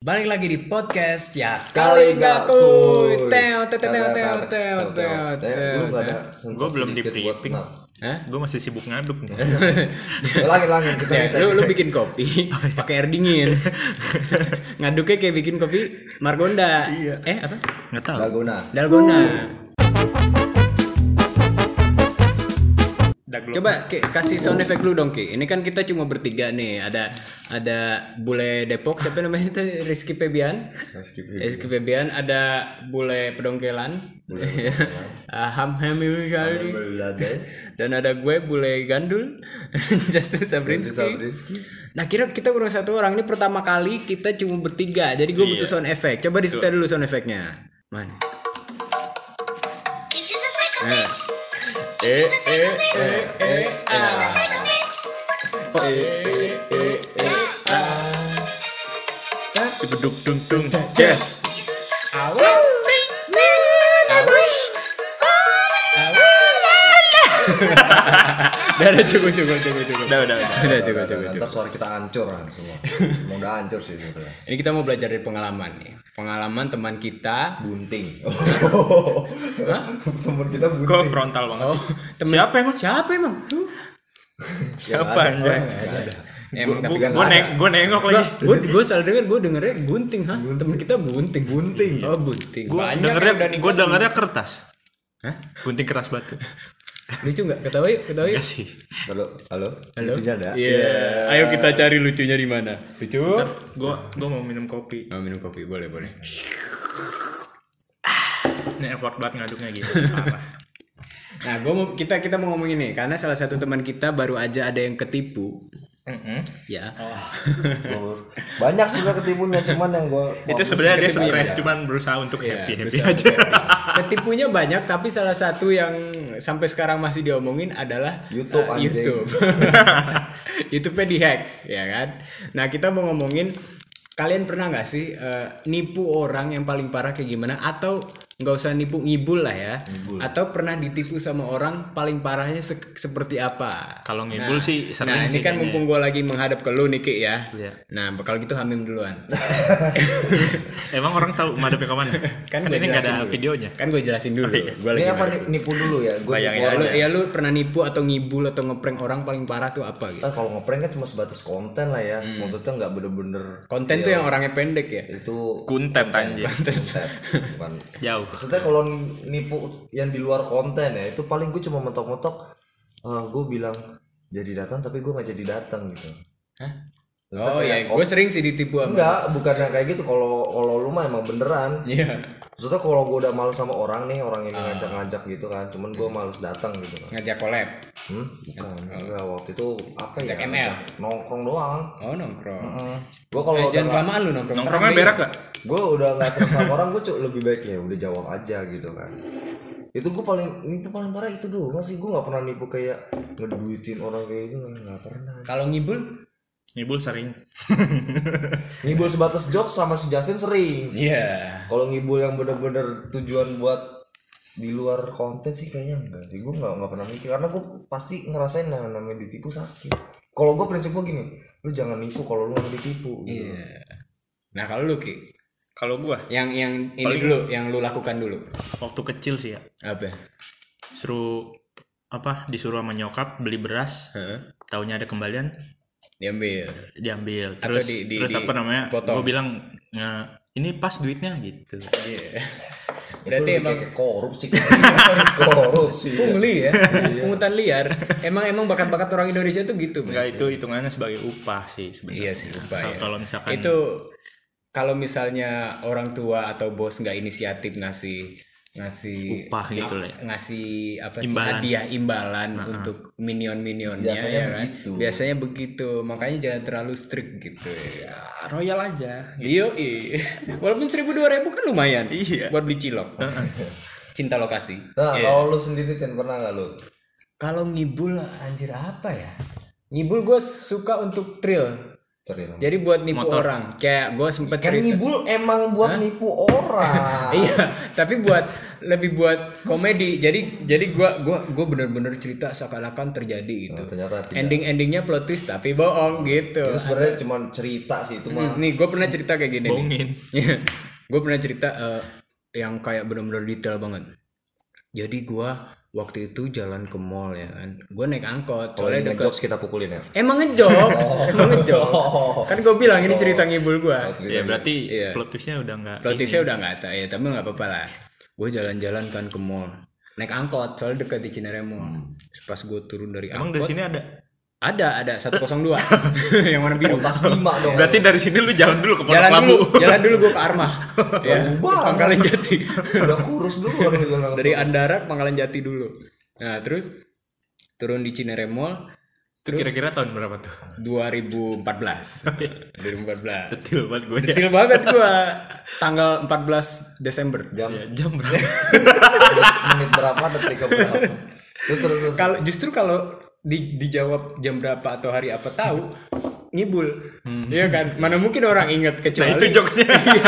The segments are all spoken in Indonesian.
Balik lagi di podcast ya Kali nggak kuy. Teo teo teo Teo, teo teo, teo teo, teo. Eh, Lu nggak ada Gua belum di briefing. Hah? Gue masih sibuk ngaduk nih. Langit langit kita Ya, kita. lu lu bikin kopi Oh, iya. pakai air dingin. Ngaduknya kayak bikin kopi Margonda. Iya. Eh apa? Nggak tahu. Nggak guna. Uh. Dalgona. Dah gua- Coba Ki, kasih sound effect lu dong Ki. Ini kan kita cuma bertiga nih. Ada ada bule Depok siapa namanya itu Rizky Febian. Meski Rizky Febian ada bule Pedongkelan. Ah, Ham Ham Ham ya, berada. dan ada gue bule gandul Justin Sabrinsky nah kira kita kurang satu orang ini pertama kali kita cuma bertiga jadi gue butuh sound effect coba di setel dulu sound effectnya mana Nah. Eh, eh, eh, eh, ah. Oh, eh, eh, eh, Geduk dung dung. Yes. Udah, udah, cukup, cukup, cukup, cukup. Udah udah udah. Udah, cukup, cukup, cukup. Ntar suara kita hancur kan semua. Emang udah hancur sih sebenarnya. Ya, Ini kita mau belajar dari pengalaman nih. Pengalaman teman kita. Bunting. Temen kita bunting. Gue frontal banget. Oh, teman Siapa emang? Siapa emang? Tuh. Siapa anjay? Emang tapi kan Yang Gue ada. neng gue nengok lagi. gue gue salah denger gue dengernya bunting hah temen kita bunting bunting oh bunting Gue banyak dengernya yang udah nikah gue dengernya kertas. Hah? Gunting keras batu. lucu nggak ketawa yuk ketawa yuk Gak sih. Halo, halo. Halo? Lucunya ada. Iya. ayo kita cari lucunya di mana lucu Gue gue mau minum kopi. mau minum kopi boleh boleh Ini effort banget ngaduknya gitu. Parah. nah gue mau kita kita mau ngomongin nih karena salah satu teman kita baru aja ada yang ketipu Mm-mm. ya Gua- Banyak sebenarnya ketipunya cuman yang gue Itu sebenarnya dia stres cuman berusaha untuk happy happy berusaha aja. Iya, ketipunya banyak tapi salah satu yang sampai sekarang masih diomongin adalah YouTube, eh, anjing. YouTube. YouTube-nya dihack, ya kan? Nah, kita mau ngomongin kalian pernah nggak sih eh, nipu orang yang paling parah kayak gimana atau nggak usah nipu ngibul lah ya atau pernah ditipu sama orang paling parahnya se- seperti apa Kalau ngibul sih sering nah ini sih kan kayaknya. mumpung gue lagi menghadap ke lu nih Ki ya Iya. nah bakal gitu hamim duluan Emang orang tahu madepnya kemana? Kan, gua ini nggak jelasin ada dulu. videonya. kan gue jelasin Oh, dulu iya. Gua lagi Ini apa menghadap. nih, nipu dulu ya? Gue Bayangin Lu, ya lu pernah nipu atau ngibul atau ngeprank orang paling parah tuh apa gitu? Ah, kalau ngeprank kan cuma sebatas konten lah ya. Maksudnya nggak bener-bener Konten tuh yang orangnya pendek ya. itu Kuntet anjir. konten, Iya. bukan. Jauh. Maksudnya kalau nipu yang di luar konten ya itu paling gue cuma mentok-mentok gue bilang jadi datang tapi gue nggak jadi datang gitu. Hah? Maksudnya Oh kayak, ya, gue sering sih ditipu sama. Enggak, bukan yang kayak gitu. Kalau kalau lu mah emang beneran. Iya. Maksudnya kalau gue udah males sama orang nih, orang ini ngajak-ngajak gitu kan. Cuman gue males datang gitu kan. Ngajak collab. Hmm? Bukan. Enggak, waktu itu apa ya? Ngajak ML. ngajak Nongkrong doang. Oh nongkrong. Gue kalau Eh, udah jangan kelamaan lu nongkrong. Nongkrongnya berak gak? gue udah nggak serasa sama orang gue lebih baik ya udah jawab aja gitu kan itu gue paling itu paling parah itu dulu masih gue nggak pernah nipu kayak ngeduitin orang kayak gitu nggak nggak pernah Kalau ngibul, Ngibul sering. ngibul sebatas jokes sama si Justin sering iya. kalau ngibul yang bener-bener tujuan buat di luar konten sih kayaknya enggak sih gue nggak nggak pernah mikir karena gue pasti ngerasain yang namanya ditipu sakit kalau gue prinsip gue gini lu jangan nipu kalau lu nggak ditipu gitu. Iya. Nah kalau lu ki, Kalau gua yang yang ini dulu, yang lu lakukan dulu waktu kecil sih ya apa? suruh apa disuruh sama nyokap beli beras Heeh. taunya ada kembalian Diambil. diambil terus di- di- terus di- apa namanya potong. gue bilang "Nge- ini pas duitnya gitu Iya. itu Berarti lebih emang kayak korupsi korupsi pungli ya, pungutan liar. Emang emang bakat-bakat orang Indonesia tuh gitu, Bang. enggak itu hitungannya sebagai upah sih sebenarnya Iya sih lupa Kalau- ya. kalau misalkan itu kalau misalnya orang tua atau bos nggak inisiatif ngasih ngasih Upah gitu lah ya. ngasih apa sih Imbalan. Nah, ah. hadiah imbalan untuk minion-minionnya Biasanya ya kan? begitu. Biasanya begitu. Makanya jangan terlalu strict gitu ya. royal aja Yoi. Walaupun 1000 2000 kan lumayan buat beli cilok. Cinta lokasi. Nah, kalau lu sendiri Tin, pernah nggak lu? Kalau ngibul anjir apa ya? Ngibul gue suka untuk thrill. Cari nama. Jadi buat nipu orang. Kayak gue sempet Kan cerita- ngibul emang buat nipu orang. Iya, tapi buat lebih buat komedi. Jadi jadi gua gua gua bener-bener cerita seakan-akan terjadi gitu. Nah, ternyata tidak. Ending-endingnya plot twist tapi bohong gitu. Itu sebenarnya cuma cerita sih itu mah. Nih, gue pernah cerita kayak gini nih. Bohongin. gue pernah cerita eh, yang kayak bener-bener detail banget. Jadi gua waktu itu jalan ke mall ya kan. Gue naik angkot, Kalau soalnya ini deket. ngejokes kita pukulin ya. Emang ngejok, emang ngejok. Kan gue bilang ini cerita ngibul gua. Ya berarti plot twistnya udah nggak. Iya. Plot twistnya udah nggak tahu ya tapi nggak apa-apa lah gue jalan-jalan kan ke mall naik angkot soalnya dekat di Cinere Mall pas gue turun dari Emang angkot dari sini ada. ada ada 102 yang warna biru Tas lima dong. Berarti dari sini lu jalan dulu ke Pondok jalan Labu. dulu jalan dulu gue ke Armah ya banget. Pangkalan Jati Udah kurus dulu baru jalan langsung. dari Andara Pangkalan Jati dulu nah terus turun di Cinere Mall Itu kira-kira tahun berapa tuh? 2014 2014 Detil banget gue ya. Detil banget gua tanggal 14 Desember Jam Ya, Jam berapa? menit berapa detik berapa. Terus terus terus. kalau justru kalau di- dijawab jam berapa atau hari apa tahu ngibul iya kan mana mungkin orang ingat Hmm. Nah kecuali itu jokesnya. Iya.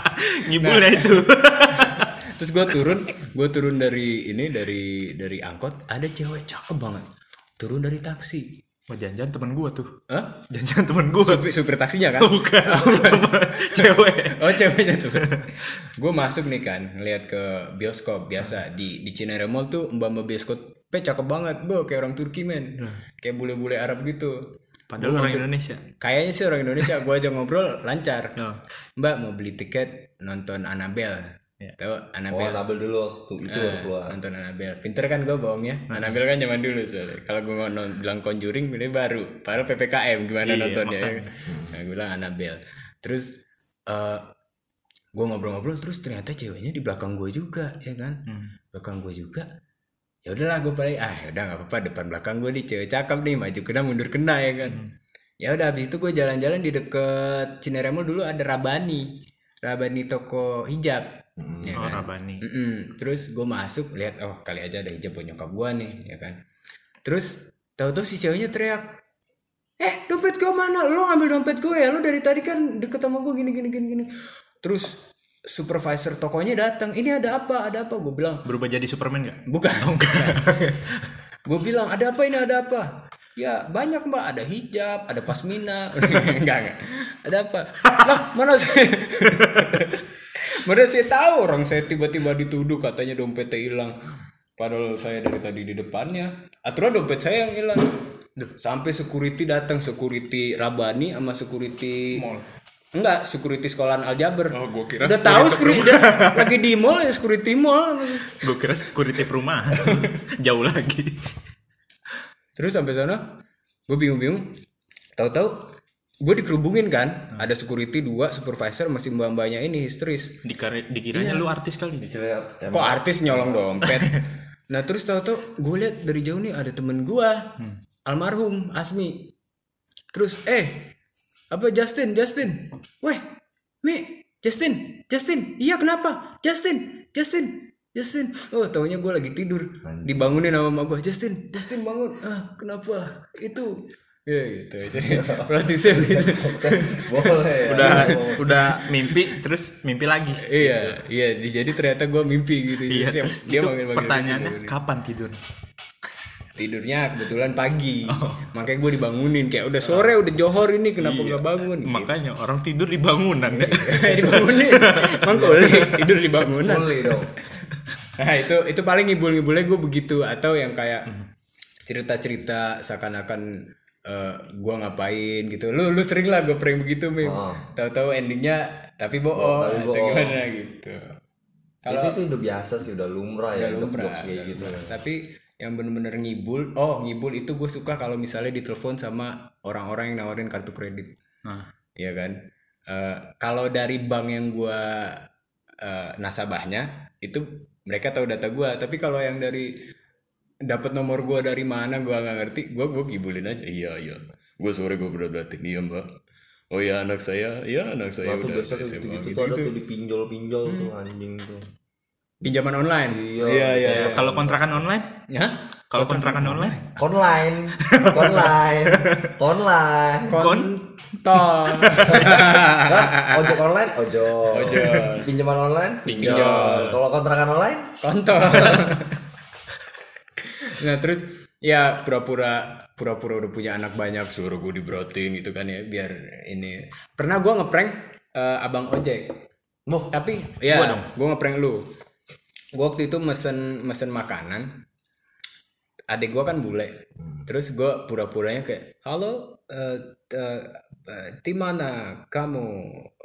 Ngibulnya Nah. itu. terus gue turun gue turun dari ini dari dari angkot ada cewek cakep banget turun dari taksi Wah jangan-jangan temen gue tuh. Hah? Jangan-jangan temen gue. supir, supir taksinya kan Oh, Bukan. Temen cewek. oh ceweknya tuh gue masuk nih kan ngeliat ke bioskop biasa di di Cinere Mall tuh mbak mbak bioskop pe cakep banget bo kayak orang Turki men Nah. kayak bule-bule Arab gitu Padahal orang Indonesia. Kayaknya sih orang Indonesia gue aja ngobrol lancar. No. Mbak mau beli tiket nonton Annabelle. Tahu Oh, Annabelle? label dulu waktu itu, itu Eh. baru keluar. Hmm. nonton Annabelle. Pinter kan gue bohongnya. Annabelle kan zaman dulu soalnya. Kalau gue mau non- bilang Conjuring ini baru. Padahal PPKM gimana Iya, nontonnya. ya kan? Nah, gue bilang Annabelle. Terus eh gue ngobrol-ngobrol terus ternyata ceweknya di belakang gue juga ya kan. Hmm. Belakang gue juga. Ya udahlah gue paling ah udah nggak apa-apa depan belakang gue nih cewek cakep nih maju kena mundur kena ya kan. Hmm. Ya udah habis itu gue jalan-jalan di deket Cinere Mall dulu ada Rabani. Rabani toko hijab. Hmm. Ya Oh Rabani. Mm-mm. Terus gue masuk lihat oh kali aja ada hijab buat nyokap gue nih ya kan. Terus tahu-tahu si ceweknya teriak, eh dompet gue mana? Lo ngambil dompet gue ya? Lo dari tadi kan deket sama gue gini gini gini gini. Terus supervisor tokonya datang, ini ada apa? Ada apa? Gue bilang Berubah jadi Superman gak? bukan. gue bilang ada apa ini ada apa? Ya banyak mbak ada hijab, ada pasmina, enggak enggak. Ada apa? Lah mana sih? Mana saya tahu orang saya tiba-tiba dituduh katanya dompetnya hilang. Padahal saya dari tadi di depannya. Aturan dompet saya yang hilang. Duh, Sampai security datang, security Rabani sama security Enggak, security sekolahan aljabar. Oh, gua kira Udah tahu security lagi di mall ya security mall. Gue kira security perumahan. Jauh lagi. Terus sampai sana gue bingung-bingung. Tahu-tahu gue dikerubungin kan. Ada security dua, supervisor masih mbak-mbaknya ini histeris. Dikira, dikiranya lu artis kali. Dilihat, ya, Kan kok artis nyolong dompet nah terus tahu-tahu gue lihat dari jauh nih ada temen gue Hmm. almarhum Asmi terus eh apa Justin Justin weh Mi Justin Justin iya kenapa Justin Justin Justin oh taunya gue lagi tidur dibangunin sama mama gue Justin Justin bangun ah kenapa itu ya gitu jadi berarti gitu. saya Iya, begitu saya- boleh ya. Udah Oh. udah mimpi terus mimpi lagi. iya iya jadi ternyata gue mimpi gitu Iya, Jadi terus itu manggil-manggil gitu, pertanyaannya bangunin. kapan tidur? tidurnya kebetulan pagi Oh. makanya gue dibangunin kayak udah sore udah johor ini kenapa Iya. nggak bangun Makanya orang tidur di bangunan ya. dibangunin mangkuli tidur di bangunan Boleh dong. nah itu itu paling ngibul-ngibulnya gue begitu atau yang kayak Mhm. cerita-cerita seakan-akan eh, gue ngapain gitu lu lu sering lah gue prank begitu mim tahu-tahu endingnya tapi bohong Oh. tapi atau bohong. gimana gitu itu itu udah biasa sih, udah lumrah ya untuk jokes kayak gitu. tapi yang bener-bener ngibul oh ngibul itu gue suka kalau misalnya ditelepon sama orang-orang yang nawarin kartu kredit Nah, Iya kan? Eh, kalau dari bank yang gua eh, nasabahnya itu mereka tahu data gua, tapi kalau yang dari dapat nomor gua dari mana gua nggak ngerti, gua gua gibulin aja. Iya, iya. Gua sore gua berdebat iya, Mbak. Oh ya anak saya, iya anak saya Itu udah biasa tuh SMA gitu-gitu gitu. tuh ada tuh dipinjol-pinjol tuh anjing tuh. pinjaman online Iya. iya Kalau kontrakan online? Hah? Kalau kontrakan online? Online, online, online. kontol Ah, Kan ojek online, ojol. Pinjaman online, pinjol. Kalau kontrakan online, kontol nah terus ya pura-pura pura-pura udah punya anak banyak suruh gue dibrotin gitu kan ya biar ini pernah gua ngeprank eh, abang ojek Wah. tapi ya Gua gua dong. ngeprank lu gua waktu itu mesen mesen makanan adik gua kan bule terus gua pura-puranya kayak halo eh, eh, eh, di mana kamu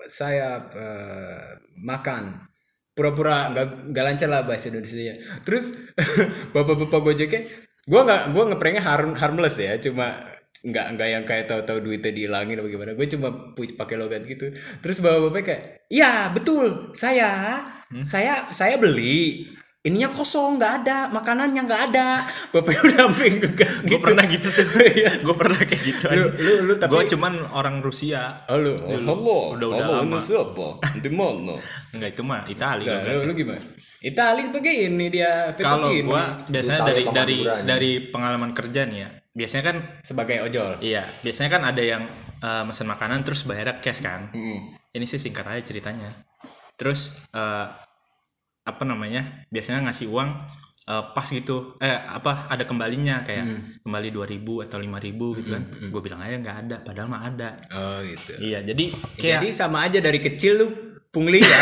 saya eh, makan pura-pura nggak nggak lancar lah bahasa Indonesia terus bapak-bapak gojeknya gua nggak gua ngepranknya harm harmless ya cuma nggak nggak yang kayak tahu-tahu duitnya dihilangin atau gimana gue cuma pu- pakai logat gitu terus bapak bapak kayak iya betul saya saya saya beli ininya kosong nggak ada makanannya nggak ada bapak udah hampir ngegas Gue gitu pernah gitu tuh. gue pernah kayak gitu. lu lu, lu tapi Gue cuman orang Rusia. Oh, halo halo Udah- udah halo ini lama. siapa di mana Enggak itu mah Italia. nah, gua lu, lu gimana Itali sebagai ini dia kalau fettuccine. gua biasanya Italia dari sama dari hiburan. dari pengalaman kerja nih ya biasanya kan sebagai ojol iya biasanya kan ada yang eh, mesen makanan terus bayar cash kan ini sih singkat aja ceritanya terus eh, apa namanya biasanya ngasih uang eh, pas gitu eh apa ada kembalinya kayak kembali 2000 atau 5000 gitu kan gue bilang aja nggak ada padahal mah ada oh gitu iya jadi kayak jadi sama aja dari kecil lu pungli ya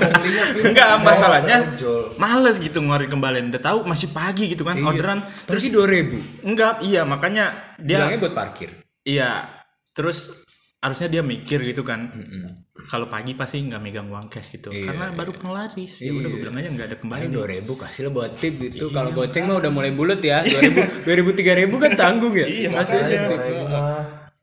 penglinya pindah. enggak masalahnya Ojol. males gitu ngeluarin kembalian udah tahu masih pagi gitu Iya. kan orderan terus dua ribu enggak iya makanya dia bilangnya buat parkir Iya, terus harusnya dia mikir gitu kan. Kalau pagi pasti nggak megang uang cash gitu, karena baru penglaris. Ya udah gue bilang aja nggak ada kembali. paling dua ribu kasih lo buat tip gitu kalau goceng mah udah mulai bulat ya dua ribu dua ribu tiga ribu kan tanggung ya iya Makanya orang ini mah.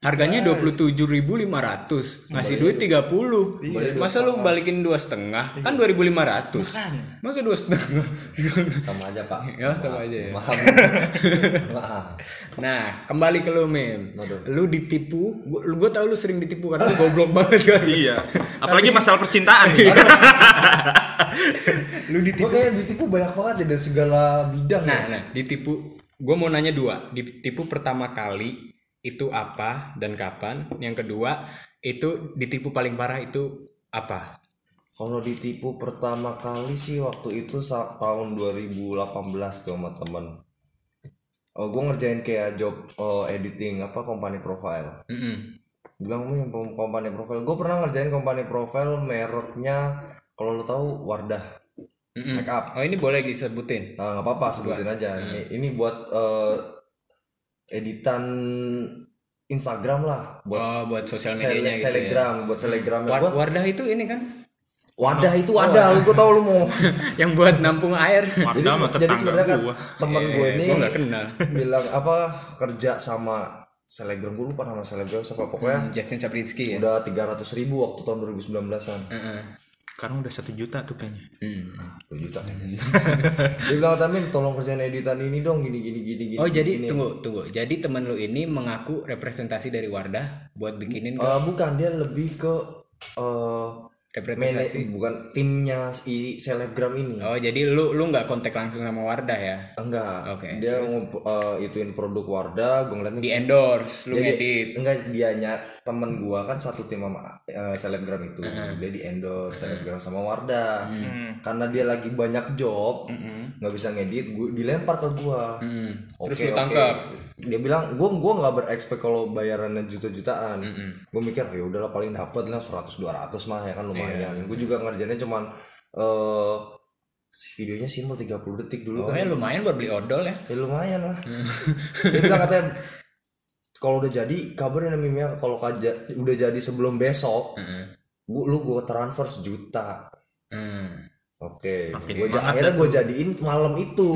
harganya dua puluh tujuh ribu lima ratus ngasih duit tiga puluh masa lu balikin dua setengah kan dua ribu lima ratus masa dua setengah sama aja pak ya sama aja ya maaf maaf nah kembali ke lu mem lu ditipu gua, gua tau lu sering ditipu karena lu goblok banget kan Iya. Apalagi masalah percintaan. nih. kan. lu ditipu gue kayak ditipu banyak banget ya dari segala bidang ya. Nah, nah, ditipu. Gue mau nanya dua. Ditipu pertama kali itu apa dan kapan? Yang kedua itu ditipu paling parah itu apa? kalau ditipu pertama kali sih waktu itu saat tahun 2018 tuh sama temen oh gue ngerjain kayak job eh, editing apa company profile Mm-mm. bilang "Kamu yang pem- company profile gue pernah ngerjain company profile mereknya kalau lo tahu Wardah Mm-mm. make up Oh ini boleh disebutin. Nah, nggak apa-apa sebutin aja. Ini, ini buat eh, editan Instagram lah, buat Oh buat sosial sele- medianya gitu ya. selegram, buat selegram. War- Gua- Wardah itu ini kan wadah itu wadah, lu gua tau lu mau. yang buat nampung air. Wardah sama sebe- jadi tetangga sebenarnya kan gua. temen gue ini Gue Iya, nggak kenal. bilang apa kerja sama selebgram gue lupa nama selebgram siapa pokoknya Justin Sabrinsky ya. udah 300.000 ribu waktu tahun 2019an Heeh. Sekarang udah satu juta tuh kayaknya. Hmm. 2 juta kayaknya sih. dia bilang Tamim tolong kerjain editan ini dong gini gini gini gini Oh jadi tunggu tunggu. Jadi teman lu ini mengaku representasi dari Wardah buat bikinin Eh, bukan dia lebih ke eh representasi. Mene- bukan timnya si selebgram ini Oh jadi lu lu nggak kontak langsung sama Wardah ya? enggak Oke, dia ngup- eh, ituin produk Wardah gue ngeliatnya Di endorse, lu ngedit. enggak dianya temen gua kan satu tim sama eh, selebgram itu Uh-huh. dia di endorse selebgram sama Wardah Hmm. karena dia lagi banyak job nggak bisa ngedit gua dilempar ke gua Hmm. Oke, Terus lu oke. tangkap. dia bilang gua gua nggak berekspek kalau bayarannya juta-jutaan gua mikir ya udahlah paling dapat lah 100 200 mah Iya. ya kan lumayan gua juga ngerjainnya cuman eh si videonya simpel 30 detik Oh, dulu kan Pokoknya iya? lumayan buat beli odol ya. ya lumayan lah Hmm. dia bilang katanya kalau udah jadi kabarin ya Mim, ya kalau kaja- udah jadi sebelum besok gua, lu gue transfer sejuta Hmm. oke Gua ja- Makin semangat Hmm. akhirnya gue jadiin malam itu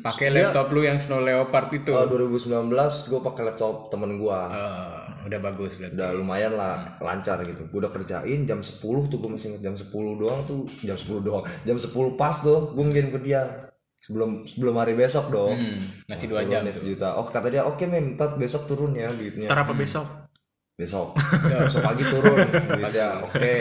Pakai Dia- laptop lu yang Snow Leopard itu. eh, 2019 gue pakai laptop temen gue Eh, udah bagus lah. udah lumayan lah Hmm. lancar gitu gue udah kerjain jam 10 tuh gue masih inget jam 10 doang tuh jam 10 doang jam 10 pas tuh gue ngirim ke dia sebelum sebelum hari besok dong Mm. Masih Hmm, dua jam. Turunnya sejuta oh kata dia oke mem tat besok turun ya duitnya Ntar apa besok? besok besok pagi turun gitu ya oke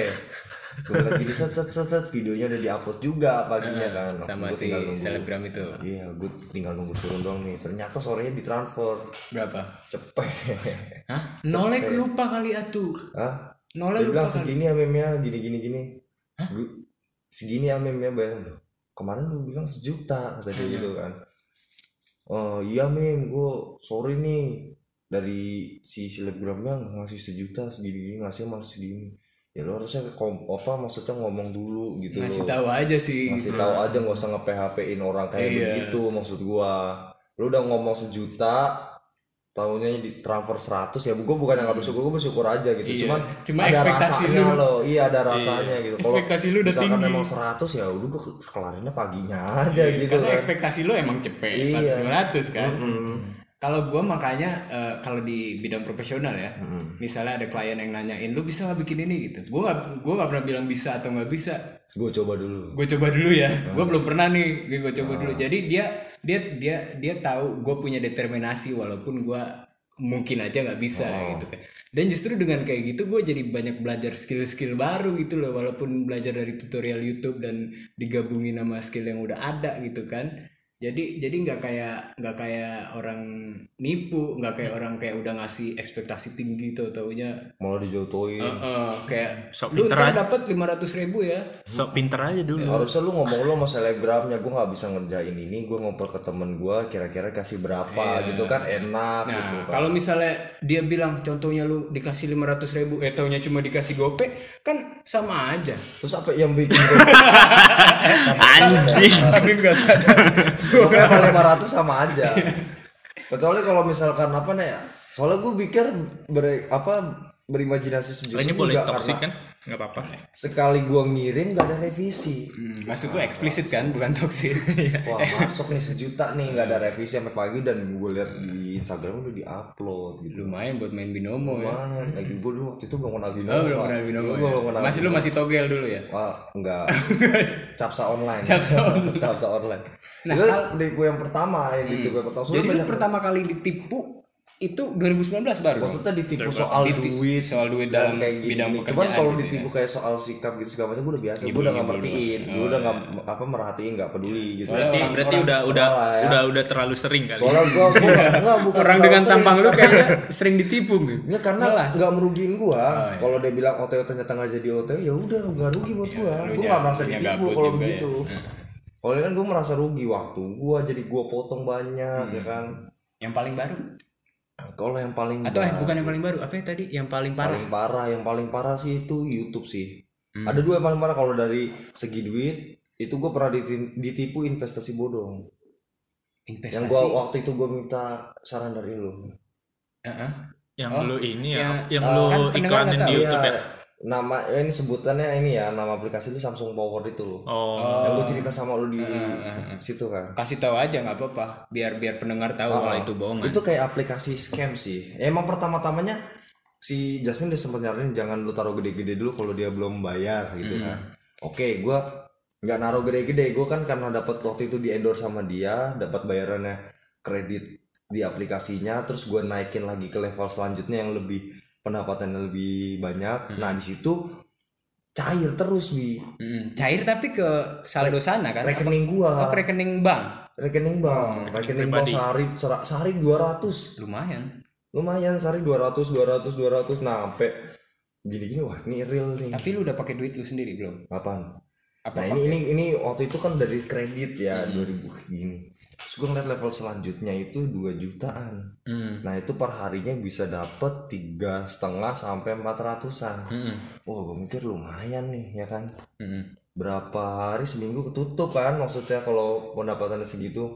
gue lagi di set set set set videonya udah diupload juga paginya kan Waktu Eh, sama gua si tinggal nunggu. selebgram itu iya gue tinggal nunggu turun doang nih ternyata sorenya ditransfer berapa? cepet Hah? Nolek lupa kali atuh. Hah? Nolek Dia lupa bilang kali. segini amemnya gini gini gini. Gua- segini amemnya bayar loh. Kemarin lu bilang sejuta kata dia Iya. gitu kan. Oh iya mem, gue sorry nih dari si selebgramnya nggak ngasih sejuta segini gini ngasih malah segini. Ya lu harusnya kom apa maksudnya ngomong dulu gitu Ngasih loh. tahu aja sih. Ngasih tahu aja nggak usah nge-PHP-in orang kayak Nah. Iya. begitu maksud gua. Lu udah ngomong sejuta tahunnya di transfer 100 ya gue bukan yang gak bersyukur gue bersyukur aja gitu Iya. cuman Hmm. Cuma ada ekspektasi rasanya lu- loh iya ada rasanya gitu Kalau Ekspektasi lu udah misalkan tinggi. Iya, emang 100 ya udah gue kelarinnya paginya aja gitu Karena kan Hmm. ekspektasi lo emang cepet Iya. 100 900 kan. Kalau gua makanya eh, kalau di bidang profesional ya, misalnya ada klien yang nanyain lu bisa nggak bikin ini gitu. Gua nggak gua nggak pernah bilang bisa atau nggak bisa. gue coba dulu Gue coba dulu ya. Nah. Gua belum pernah nih. Gue coba dulu. Jadi dia dia dia dia tahu gue punya determinasi walaupun gua mungkin aja nggak bisa Nah. gitu kan. Dan justru dengan kayak gitu gue jadi banyak belajar skill-skill baru gitu loh walaupun belajar dari tutorial YouTube dan digabungin sama skill yang udah ada gitu kan jadi jadi nggak kayak nggak kayak orang nipu nggak kayak orang kayak udah ngasih ekspektasi tinggi tuh taunya malah dijotoin eh, kayak Nah. Sok lu pinter ntar dapat lima ribu ya Sok pinter aja dulu. harusnya lu ngomong lu sama selebgramnya gue nggak bisa ngerjain ini gue ngoper ke temen gue kira-kira kasih berapa gitu kan enak gitu Iya. nah kalau misalnya dia bilang contohnya lu dikasih lima ratus ribu eh taunya cuma dikasih gope kan sama aja terus apa yang bikin gue Anjing. tapi nggak sadar Pokoknya sama Iya. 500 sama aja. Kecuali kalau misalkan apa nih ya? Soalnya gue pikir ber, apa berimajinasi sejuta Ini juga boleh karena toxic kan? Enggak apa-apa. sekali gue ngirim gak ada revisi. Hmm, maksud lu eksplisit kan bukan toksik Wah Iya. masuk nih sejuta nih gak ada revisi sampai pagi dan gue lihat di Instagram udah diupload gitu. lumayan buat main binomo ya Lumayan. Lagi gue dulu waktu itu belum kenal Binomo. Oh, belum Pak. kenal binomo Gua ya. belum kenal masih lu masih togel dulu ya Wah, enggak. Capsa online. Capsa online. Nah, Hmm. Capsa online. itu di gue yang pertama, yang di tipe yang pertama. Soalnya Jadi lu banyak- pertama kali ditipu itu 2019 baru. maksudnya ditipu soal ditipu duit soal duit dalam dan kayak gini, bidang gini. cuman pekerjaan kalau gitu ditipu kayak soal sikap gitu segala macam gue udah biasa gue udah nggak ngertiin Oh, gue udah nggak iya. apa merhatiin nggak peduli gitu Soalnya- Berarti Orang- kan? berarti orang- udah udah salah ya. udah udah terlalu sering kali. soalnya gue nggak bukan Iya. Orang nggak dengan sering, tampang lu karena- kayaknya sering ditipu gitu. Ya, karena nggak merugiin Oh, gua iya. kalau dia bilang OTW ternyata nggak jadi OTW ya udah nggak rugi buat gua gua nggak merasa lu nya ditipu Iya, gabut kalau juga ya. begitu kalau ini kan gua merasa rugi waktu gua jadi gua potong banyak Iya. ya kan Yang paling baru kalau yang paling atau eh bukan yang paling baru apa ya tadi yang paling parah. paling parah yang paling parah sih itu YouTube sih Hmm. ada dua yang paling parah kalau dari segi duit itu gue pernah diti- ditipu investasi bodong yang Investasi. gue waktu itu gue minta saran dari lo Heeh. Yang lu ini ya, ya. yang Ah, lu kan pendengar iklanin nggak di tahu. YouTube ya. Iya, nama ini sebutannya ini ya nama aplikasi itu Samsung Power itu Oh, Hmm, yang gue cerita sama lo di situ kan Kasih tahu aja nggak apa-apa biar biar pendengar tahu kalau itu bohongan. itu kayak aplikasi scam sih Ya, emang pertama-tamanya si Justin udah sempat nyaranin jangan lu taruh gede-gede dulu kalau dia belum bayar gitu Hmm. kan oke gua nggak naruh gede-gede gue kan karena dapat waktu itu di endorse sama dia dapat bayarannya kredit di aplikasinya terus gua naikin lagi ke level selanjutnya yang lebih pendapatannya lebih Hmm. banyak nah di situ cair terus bi Mm, cair tapi ke saldo sana kan. Apa- rekening gua apa Hmm, ke rekening bank. rekening bank rekening bank sehari sera- sehari 200 Lumayan. lumayan sehari 200 200 200 nah sampai gini-gini wah ini real nih Tapi lu udah pakai duit lu sendiri belum? apaan Apa nah ini ini ini waktu itu kan dari kredit ya 2000 gini terus gue ngeliat level selanjutnya itu 2 jutaan nah itu per harinya bisa dapet tiga setengah sampai 400an wah gue mikir lumayan nih ya kan berapa hari seminggu ketutup kan maksudnya kalau pendapatannya segitu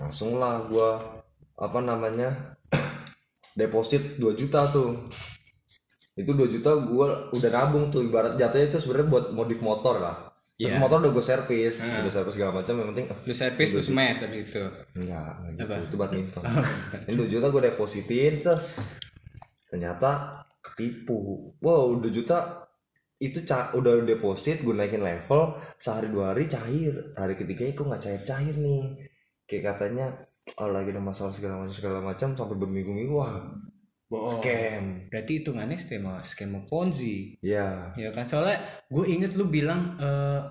langsung lah gua apa namanya deposit 2 juta tuh itu 2 juta gua udah nabung tuh ibarat jatuhnya itu sebenarnya buat modif motor lah Tapi motor udah gue servis udah servis segala macam yang penting eh, Lu servis lu smash abis itu. Enggak, enggak gitu. Itu Oh, badminton. Ini 2 juta gue depositin, ses. Ternyata ketipu. Wow, 2 juta itu ca- udah deposit gue naikin level sehari dua hari cair hari ketiganya kok nggak cair cair nih kayak katanya oh, lagi ada masalah segala macam segala macam sampai berminggu-minggu wah bohong scam berarti hitungannya skema skema ponzi ya ya kan soalnya gue inget lu bilang eh,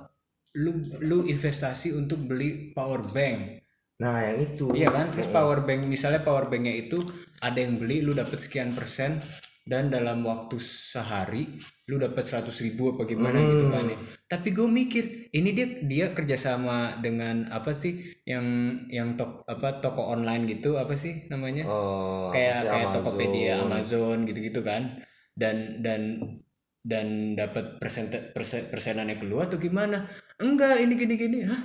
lu lu investasi untuk beli power bank nah yang itu iya kan terus power bank misalnya power banknya itu ada yang beli lu dapat sekian persen dan dalam waktu sehari lu dapat 100 ribu apa gimana gitu kan ya. tapi gue mikir ini dia dia kerjasama dengan apa sih yang yang tok apa toko online gitu apa sih namanya Eh, kayak apa sih, kayak Amazon. Tokopedia, Amazon gitu-gitu kan. Dan dan dan dapat persen persen persenannya keluar atau gimana? Enggak, ini gini gini. Hah?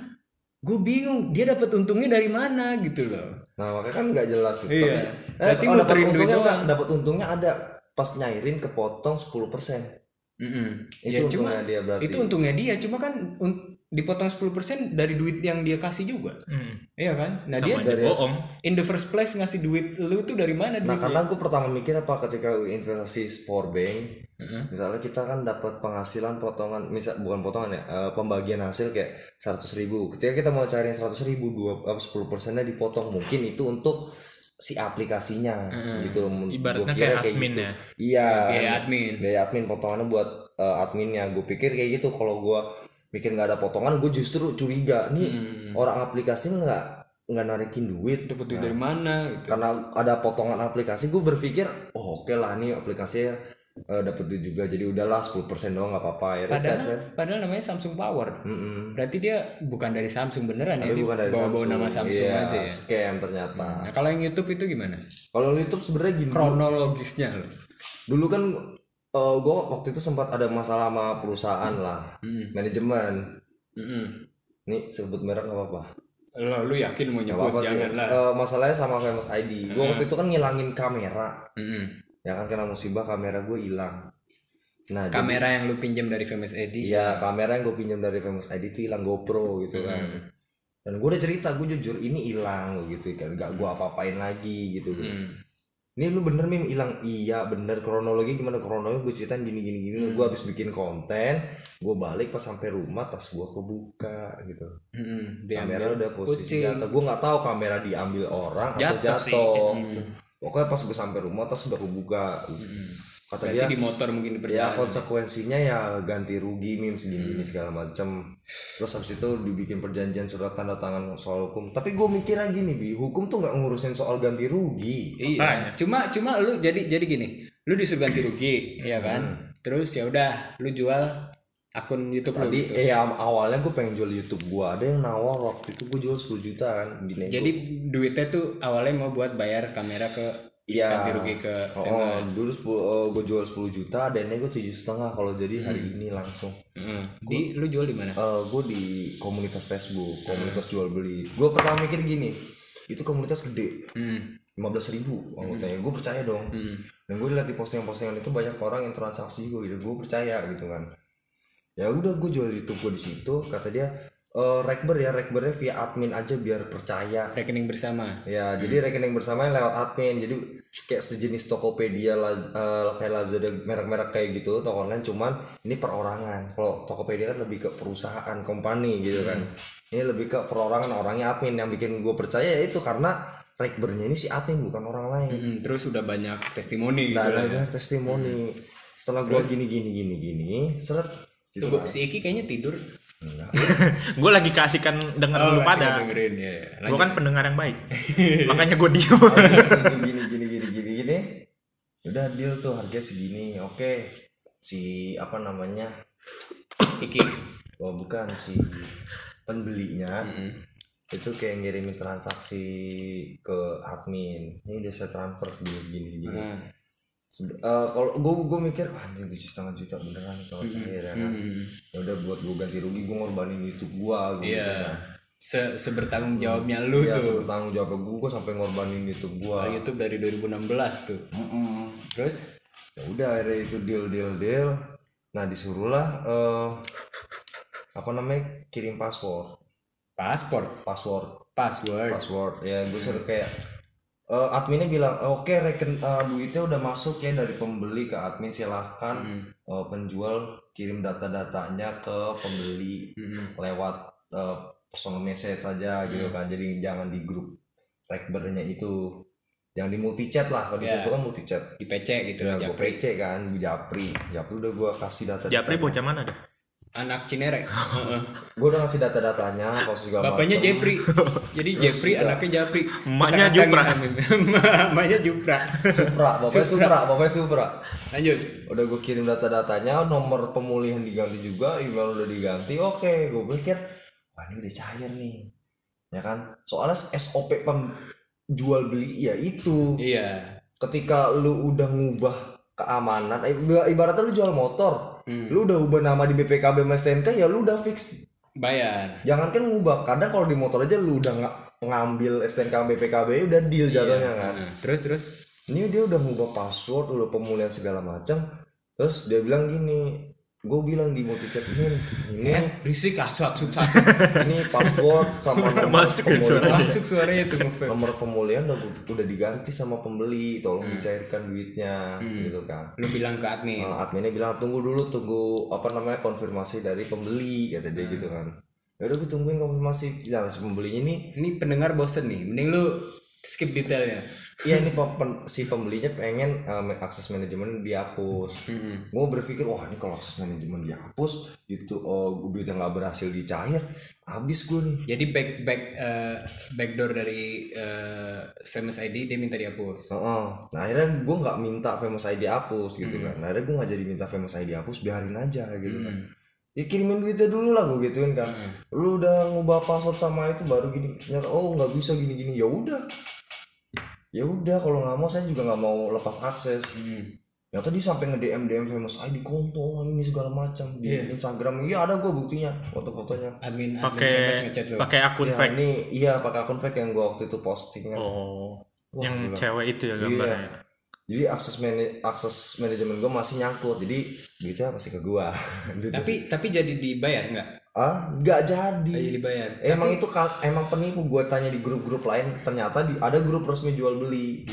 Gue bingung, dia dapat untungnya dari mana gitu loh. nah makanya kan nggak jelas tuh Iya. tapi eh, Berarti soal dapat muterin duit untungnya doang. nggak dapat untungnya ada pas nyairin kepotong 10% Mm-mm. itu Ya, cuma untungnya dia berarti itu untungnya dia, cuma kan un- dipotong 10% dari duit yang dia kasih juga. Hmm. Iya kan? Nah, Sama dia aja bohong. in the first place ngasih duit lu tuh dari mana Nah, duitnya? karena aku pertama mikir apa ketika investasi sport bank, misalnya kita kan dapat penghasilan potongan, misal bukan potongan ya, eh, pembagian hasil kayak 100.000 ribu. Ketika kita mau cari yang 100 ribu, dua, eh, 10 persennya dipotong mungkin itu untuk si aplikasinya Hmm. gitu loh. Gua Ibaratnya kira kayak admin ya. Iya. Biaya admin. Biaya admin potongannya buat eh, adminnya. Gue pikir kayak gitu. Kalau gue mikir nggak ada potongan, gue justru curiga nih orang aplikasi nggak nggak narikin duit Hmm. Dapat Oh, duit dari mana gitu. Nah. karena ada potongan aplikasi gue berpikir oh oke lah nih aplikasinya eh, dapet duit juga jadi udahlah 10% doang nggak apa-apa ya Padahal, padahal namanya Samsung Power. Berarti dia bukan dari Samsung beneran ya? dia bukan dari bawa-bawa Samsung. nama Samsung Iya, aja ya. scam ternyata Nah, kalau yang YouTube itu gimana? kalau YouTube sebenarnya gini Kronologisnya loh. dulu kan gue waktu itu sempat ada masalah sama perusahaan lah Hmm. manajemen nih sebut merek nggak apa-apa Lo, lu yakin mau Nggak nyebut? apa-apa sih. Jangan lah. Hmm. Eh, masalahnya sama kayak Mas ID gue waktu itu kan ngilangin kamera Mm-mm. ya kan karena musibah kamera gue hilang nah jadi- Kamera yang lu pinjam dari Famous Eddy. Iya kamera yang gue pinjam dari Famous ID itu hilang GoPro gitu kan Hmm. dan gue udah cerita gue jujur ini hilang gitu kan gak gue apa-apain lagi gitu Hmm. ini lu bener mim hilang iya bener kronologi gimana kronologi gue ceritain gini gini gini gue Hmm. habis bikin konten gue balik pas sampai rumah tas gue kebuka gitu Mm-mm. kamera Diambil. udah posisi Hmm. kucing. jatuh gue nggak tahu kamera diambil orang atau Jatuh sih, jatuh gitu. pokoknya pas gue sampai rumah tas udah kebuka gitu. kata Berarti dia di motor mungkin di ya perjalanan. konsekuensinya ya ganti rugi mim segini gini segala macem terus habis itu dibikin perjanjian surat tanda tangan soal hukum tapi gue mikirnya gini bi hukum tuh nggak ngurusin soal ganti rugi Iya. Makanya. Cuma cuma lu jadi jadi gini, lu disuruh ganti rugi, ya Hmm. kan? Terus ya udah, lu jual akun YouTube lu. jadi gitu. eh am- awalnya gue pengen jual YouTube gue ada yang nawar waktu itu gue jual 10 juta kan di nego. Jadi duitnya tuh awalnya mau buat bayar kamera ke Iya. ganti rugi ke oh, Famous. oh, dulu gue jual 10 juta dan nego tujuh setengah kalau jadi hari Hmm. ini langsung Di lu jual di mana? gue di komunitas Facebook komunitas jual beli gue pertama mikir gini itu komunitas gede Hmm. lima belas ribu anggotanya gue percaya dong dan gue lihat di postingan-postingan itu banyak orang yang transaksi gue gitu gue percaya gitu kan ya udah gue jual YouTube gue di situ kata dia eh rekber ya rekbernya via admin aja biar percaya Rekening bersama. Ya, jadi rekening bersama lewat admin. Jadi kayak sejenis Tokopedia Laz- eh, kayak Lazada merek-merek kayak gitu, toko online cuman ini perorangan. Kalau Tokopedia kan lebih ke perusahaan, company gitu kan. Hmm. Ini lebih ke perorangan orangnya admin yang bikin gue percaya ya itu karena rekbernya ini si admin bukan orang lain. Mm, terus udah banyak testimoni gitu. Nah, lah. Hmm. ada testimoni. Setelah gue gini gini gini gini, seret gitu Tunggu, kan. si Iki kayaknya tidur. Enggak. gue lagi keasikan denger lu masih pada. dengerin ya. ya. Gue kan pendengar yang baik. Makanya gue diem. Setuju gini gini gini gini gini udah deal tuh harga segini oke si apa namanya Iki. oh bukan si pembelinya itu kayak ngirimin transaksi ke admin ini udah saya transfer segini segini segini Nah. Sebe- eh, kalau gue gue mikir "Wah, anjing tujuh setengah juta beneran kalau cair ya kan ya udah buat gue ganti rugi gue ngorbanin YouTube gitu gue gue Iya. Se Hmm. Iya, sebertanggung jawabnya lu ya tuh. kan. bertanggung jawab gue gue sampai ngorbanin YouTube gue YouTube dari 2016 tuh. Terus ya udah akhirnya itu deal deal deal nah disuruhlah eh apa namanya kirim password paspor, password password. password ya gue suruh kayak eh, adminnya bilang oke reken eh, duitnya udah masuk ya dari pembeli ke admin silahkan Hmm. eh, penjual kirim data-datanya ke pembeli lewat eh, personal message saja gitu kan jadi jangan di grup rekbernya itu yang di multi chat lah kalau di Iya. Facebook kan multi chat di PC gitu ya, gue Japri. PC kan gue japri japri udah gue kasih data Japri bocah Ya, mana dah? Nah, anak Cinere Heeh. gue udah ngasih data datanya kalau segala bapaknya macem. Jepri jadi Jepri anaknya Japri Emaknya Kita kacangin, Amin. emaknya Jupra Supra bapaknya Supra bapaknya Supra lanjut udah gue kirim data-datanya nomor pemulihan diganti juga email udah diganti oke gue pikir wah ini udah cair nih ya kan soalnya SOP penjual beli ya itu iya ketika lu udah ngubah keamanan eh, iba- ibaratnya lu jual motor lu udah ubah nama di BPKB sama STNK ya lu udah fix bayar jangankan kan ngubah kadang kalau di motor aja lu udah nga- ngambil STNK sama BPKB udah deal jatuhnya kan Nah, terus terus ini dia udah ngubah password udah pemulihan segala macam terus dia bilang gini gue bilang di multi chat ini ini berisik ah suat suat suat. ini password sama nomor Masuk ya pemulihan masuk suaranya itu ngefan nomor pemulihan udah, udah diganti sama pembeli tolong dicairkan duitnya gitu kan lu bilang ke admin Nah, adminnya bilang tunggu dulu tunggu apa namanya konfirmasi dari pembeli kata dia gitu kan ya udah gue tungguin konfirmasi dan si pembelinya ini ini pendengar bosen nih mending lu skip detailnya Iya ini pe- pen- si pembelinya pengen uh, ma- akses manajemen dihapus. Gue berpikir wah ini kalau akses manajemen dihapus itu oh, duitnya nggak berhasil dicair, habis gue nih. jadi back back eh, backdoor dari eh, famous ID dia minta dihapus Heeh. Nah akhirnya gue nggak minta famous ID hapus gitu kan. Nah, akhirnya gue nggak jadi minta famous ID hapus, biarin aja gitu Hmm. kan. Ya kirimin duitnya dulu lah gue gituin kan. Lu udah ngubah password sama itu baru gini. Ternyata oh nggak bisa gini gini. Ya udah. Ya udah kalau nggak mau saya juga nggak mau lepas akses. Ya tadi sampai nge DM DM famous ID konto ini segala macam di Instagram. Iya ada gue buktinya foto-fotonya. admin admin famous Pakai ngechat lu pakai akun Ya, fake. ini iya pakai akun fake yang gue waktu itu posting kan. Oh. Wah, yang gila. cewek itu ya gambarnya. Iya. Jadi akses mana- akses manajemen gue masih nyangkut. Jadi duitnya masih ke gue. gitu. tapi tapi jadi dibayar nggak ah, nggak jadi. Iya. jadi dibayar Emang itu kal- emang penipu gue tanya di grup-grup lain ternyata di ada grup resmi jual beli.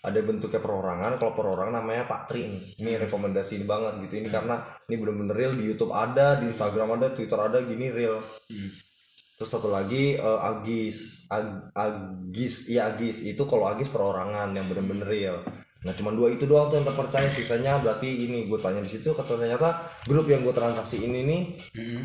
Ada bentuknya perorangan, kalau perorangan namanya Pak Tri nih. Ini rekomendasi banget gitu. Ini karena ini bener-bener real di YouTube ada, di Instagram ada, Twitter ada, gini real. Terus satu lagi eh, Agis, Ag- Agis, iya Agis itu kalau Agis perorangan yang bener-bener real. Nah cuman dua itu doang tuh yang terpercaya, sisanya berarti ini gue tanya di situ, kata ternyata grup yang gue transaksi ini nih Mm-mm.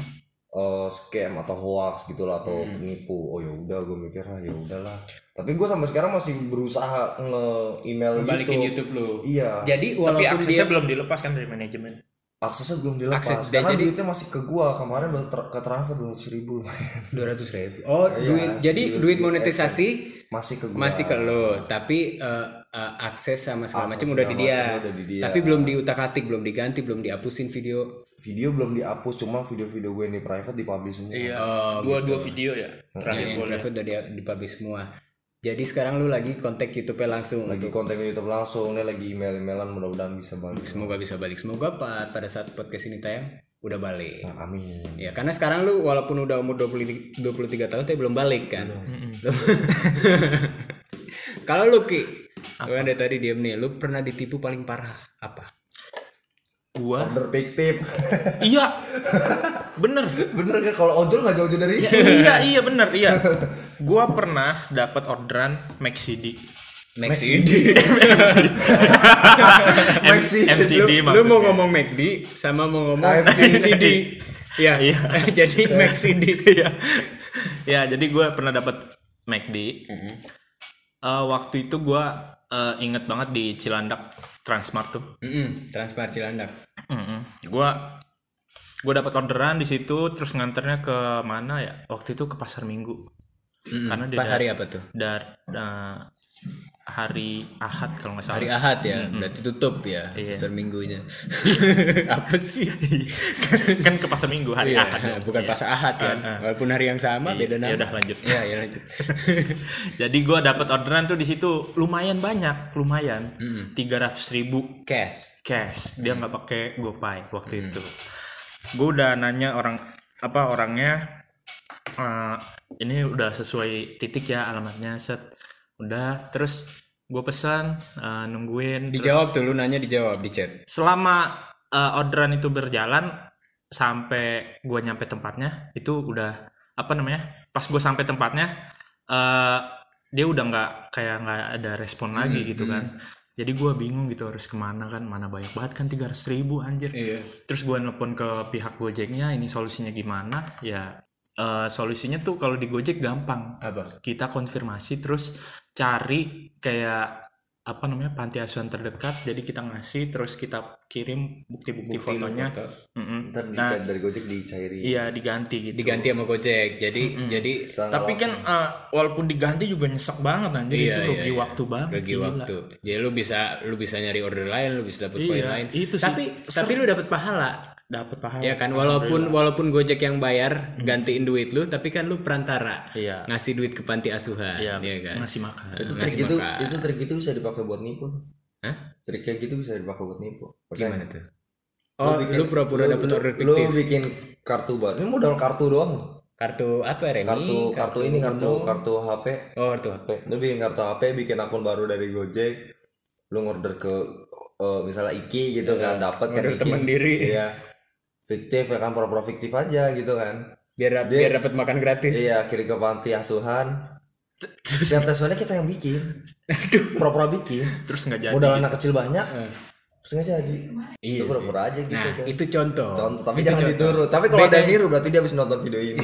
eh, scam atau hoax gitulah atau penipu. Oh ya udah gue mikir ah ya udahlah. Tapi gue sampai sekarang masih berusaha nge-email balikin YouTube YouTube. lu Iya. jadi Tapi walaupun dia aksesnya belum dilepas kan dari manajemen. Aksesnya belum dilepas. Akses- karena jadi- duitnya masih ke gue kemarin baru ter- ke transfer dua ribu. dua ratus ribu oh Iya, duit jadi duit- duit duit monetisasi masih ke gue. masih ke lo tapi eh, eh, akses sama segala macam Akses udah di segala dia macam udah di dia. tapi belum diutak-atik belum diganti belum dihapusin video video belum dihapus cuma video-video gue yang di private dipublish semua Oh, Iya. gitu. dua dua video ya. Iya, Terakhir yang boleh. private udah dia dipublish semua jadi sekarang lu lagi kontak YouTube-nya langsung lagi konten ke YouTube langsung dia lagi email-emailan mudah-mudahan bisa balik semoga bisa balik semoga Pat, pada saat podcast ini tayang udah balik Nah, amin Ya karena sekarang lu walaupun udah umur 20, 23 tahun tapi belum balik kan. Kalau lu Ki, lu kan dari tadi diam nih, lu pernah ditipu paling parah apa? Gua. order fiktif iya. Bener. bener kan kalau ojol nggak jauh-jauh dari Ya, iya iya bener iya. Gua pernah dapat orderan McD. McD. McD. MCD Lu, lu maksudnya. mau ngomong McD sama mau ngomong MCD. Ya. Iya. Jadi McD. Iya. ya jadi gue pernah dapat McD Eh, waktu itu gue eh, inget banget di Cilandak Transmart tuh Mm-mm, Transmart Cilandak. gue gue dapat orderan di situ terus nganternya ke mana ya waktu itu ke pasar minggu karena di Pak hari apa tuh? dar eh, hari Iya. ahad kalau nggak salah Hari Ahad ya, berarti tutup ya pasar minggunya. apa sih? kan ke pasar minggu hari Iya, ahad Ah, bukan pasar Ahad ya. Walaupun hari yang sama beda nama. ya udah lanjut Ya, ya lanjut. jadi gue dapat orderan tuh di situ lumayan banyak lumayan tiga ribu Cash. cash dia nggak pakai gopay waktu itu gue udah nanya orang apa orangnya eh, ini udah sesuai titik ya alamatnya set udah terus gue pesan eh, nungguin Terus Dijawab tuh lu nanya dijawab di chat. selama eh, orderan itu berjalan sampai gue nyampe tempatnya itu udah apa namanya pas gue sampai tempatnya eh dia udah nggak kayak nggak ada respon Hmm, lagi gitu kan jadi gua bingung gitu harus kemana kan mana banyak banget kan 300.000 ribu anjir Iya. terus gua nelpon ke pihak gojeknya ini solusinya gimana ya eh, solusinya tuh kalau di gojek gampang Apa? kita konfirmasi terus cari kayak apa namanya panti asuhan terdekat jadi kita ngasih terus kita kirim bukti-bukti fotonya foto. Mm-mm. Ntar di, dari Gojek dicairin. iya diganti gitu Diganti sama Gojek. Jadi jadi tapi kan eh, walaupun diganti juga nyesek banget anjir Iya, itu iya, rugi iya. waktu banget bagi Ah, gila. waktu. Jadi lu bisa lu bisa nyari order lain, lu bisa dapet poin Iya, lain. itu sih. tapi tapi lu dapet pahala. dapat paham Ya kan walaupun walaupun Gojek yang bayar gantiin duit lu, tapi kan lu perantara. Iya. Ngasih duit ke panti asuhan, Iya, iya kan? ngasih makan itu trik ngasih itu makan. itu trik itu bisa dipakai buat nipu. tuh. Hah? Trik kayak gitu bisa dipakai buat nipu. Percaya Gimana nggak? tuh? Oh, bikin- lu pura-pura lu- dapet lu- order Lu fiktif. bikin kartu baru. Ini modal kartu doang. Kartu apa ya, Remi? Kartu kartu ini kartu kartu HP. Oh, kartu HP. Lu bikin kartu HP, bikin akun baru dari Gojek. Lu ngorder ke eh, misalnya Iki gitu kan, dapat kan Iya. ngorder Iki. temen diri. Iya. Fiktif ya kan pura-pura fiktif aja gitu kan. Biar biar dapat makan gratis. Iya, kirim ke panti asuhan. Dan tes soalnya kita yang bikin. Pura-pura bikin. terus nggak jadi gitu. Modal anak kecil banyak. Sengaja jadi. Itu pura-pura aja gitu Eh. Nah, kan. itu contoh. Contoh, tapi jangan ditiru. Tapi kalau ada yang niru berarti dia habis nonton video ini.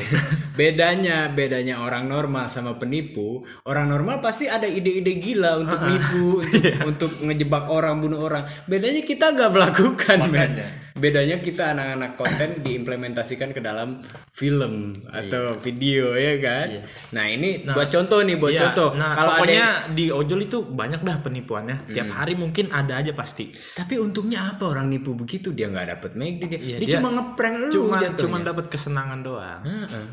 Bedanya, bedanya orang normal sama penipu, orang normal pasti ada ide-ide gila untuk nipu, untuk, Iya. untuk ngejebak orang, bunuh orang. Bedanya kita nggak melakukan, men. Bedanya kita anak-anak konten diimplementasikan ke dalam film atau video ya kan. Nah, ini buat contoh nih, buat Iya, contoh. Oh, nah Kalau ada pokoknya yang- Hmm. di ojol itu banyak dah penipuannya tiap hari mungkin ada aja pasti tapi untungnya apa orang nipu begitu dia nggak dapet make dia, Iya, dia dia- cuma ngeprank lu cuma jatuhnya. cuma dapat kesenangan doang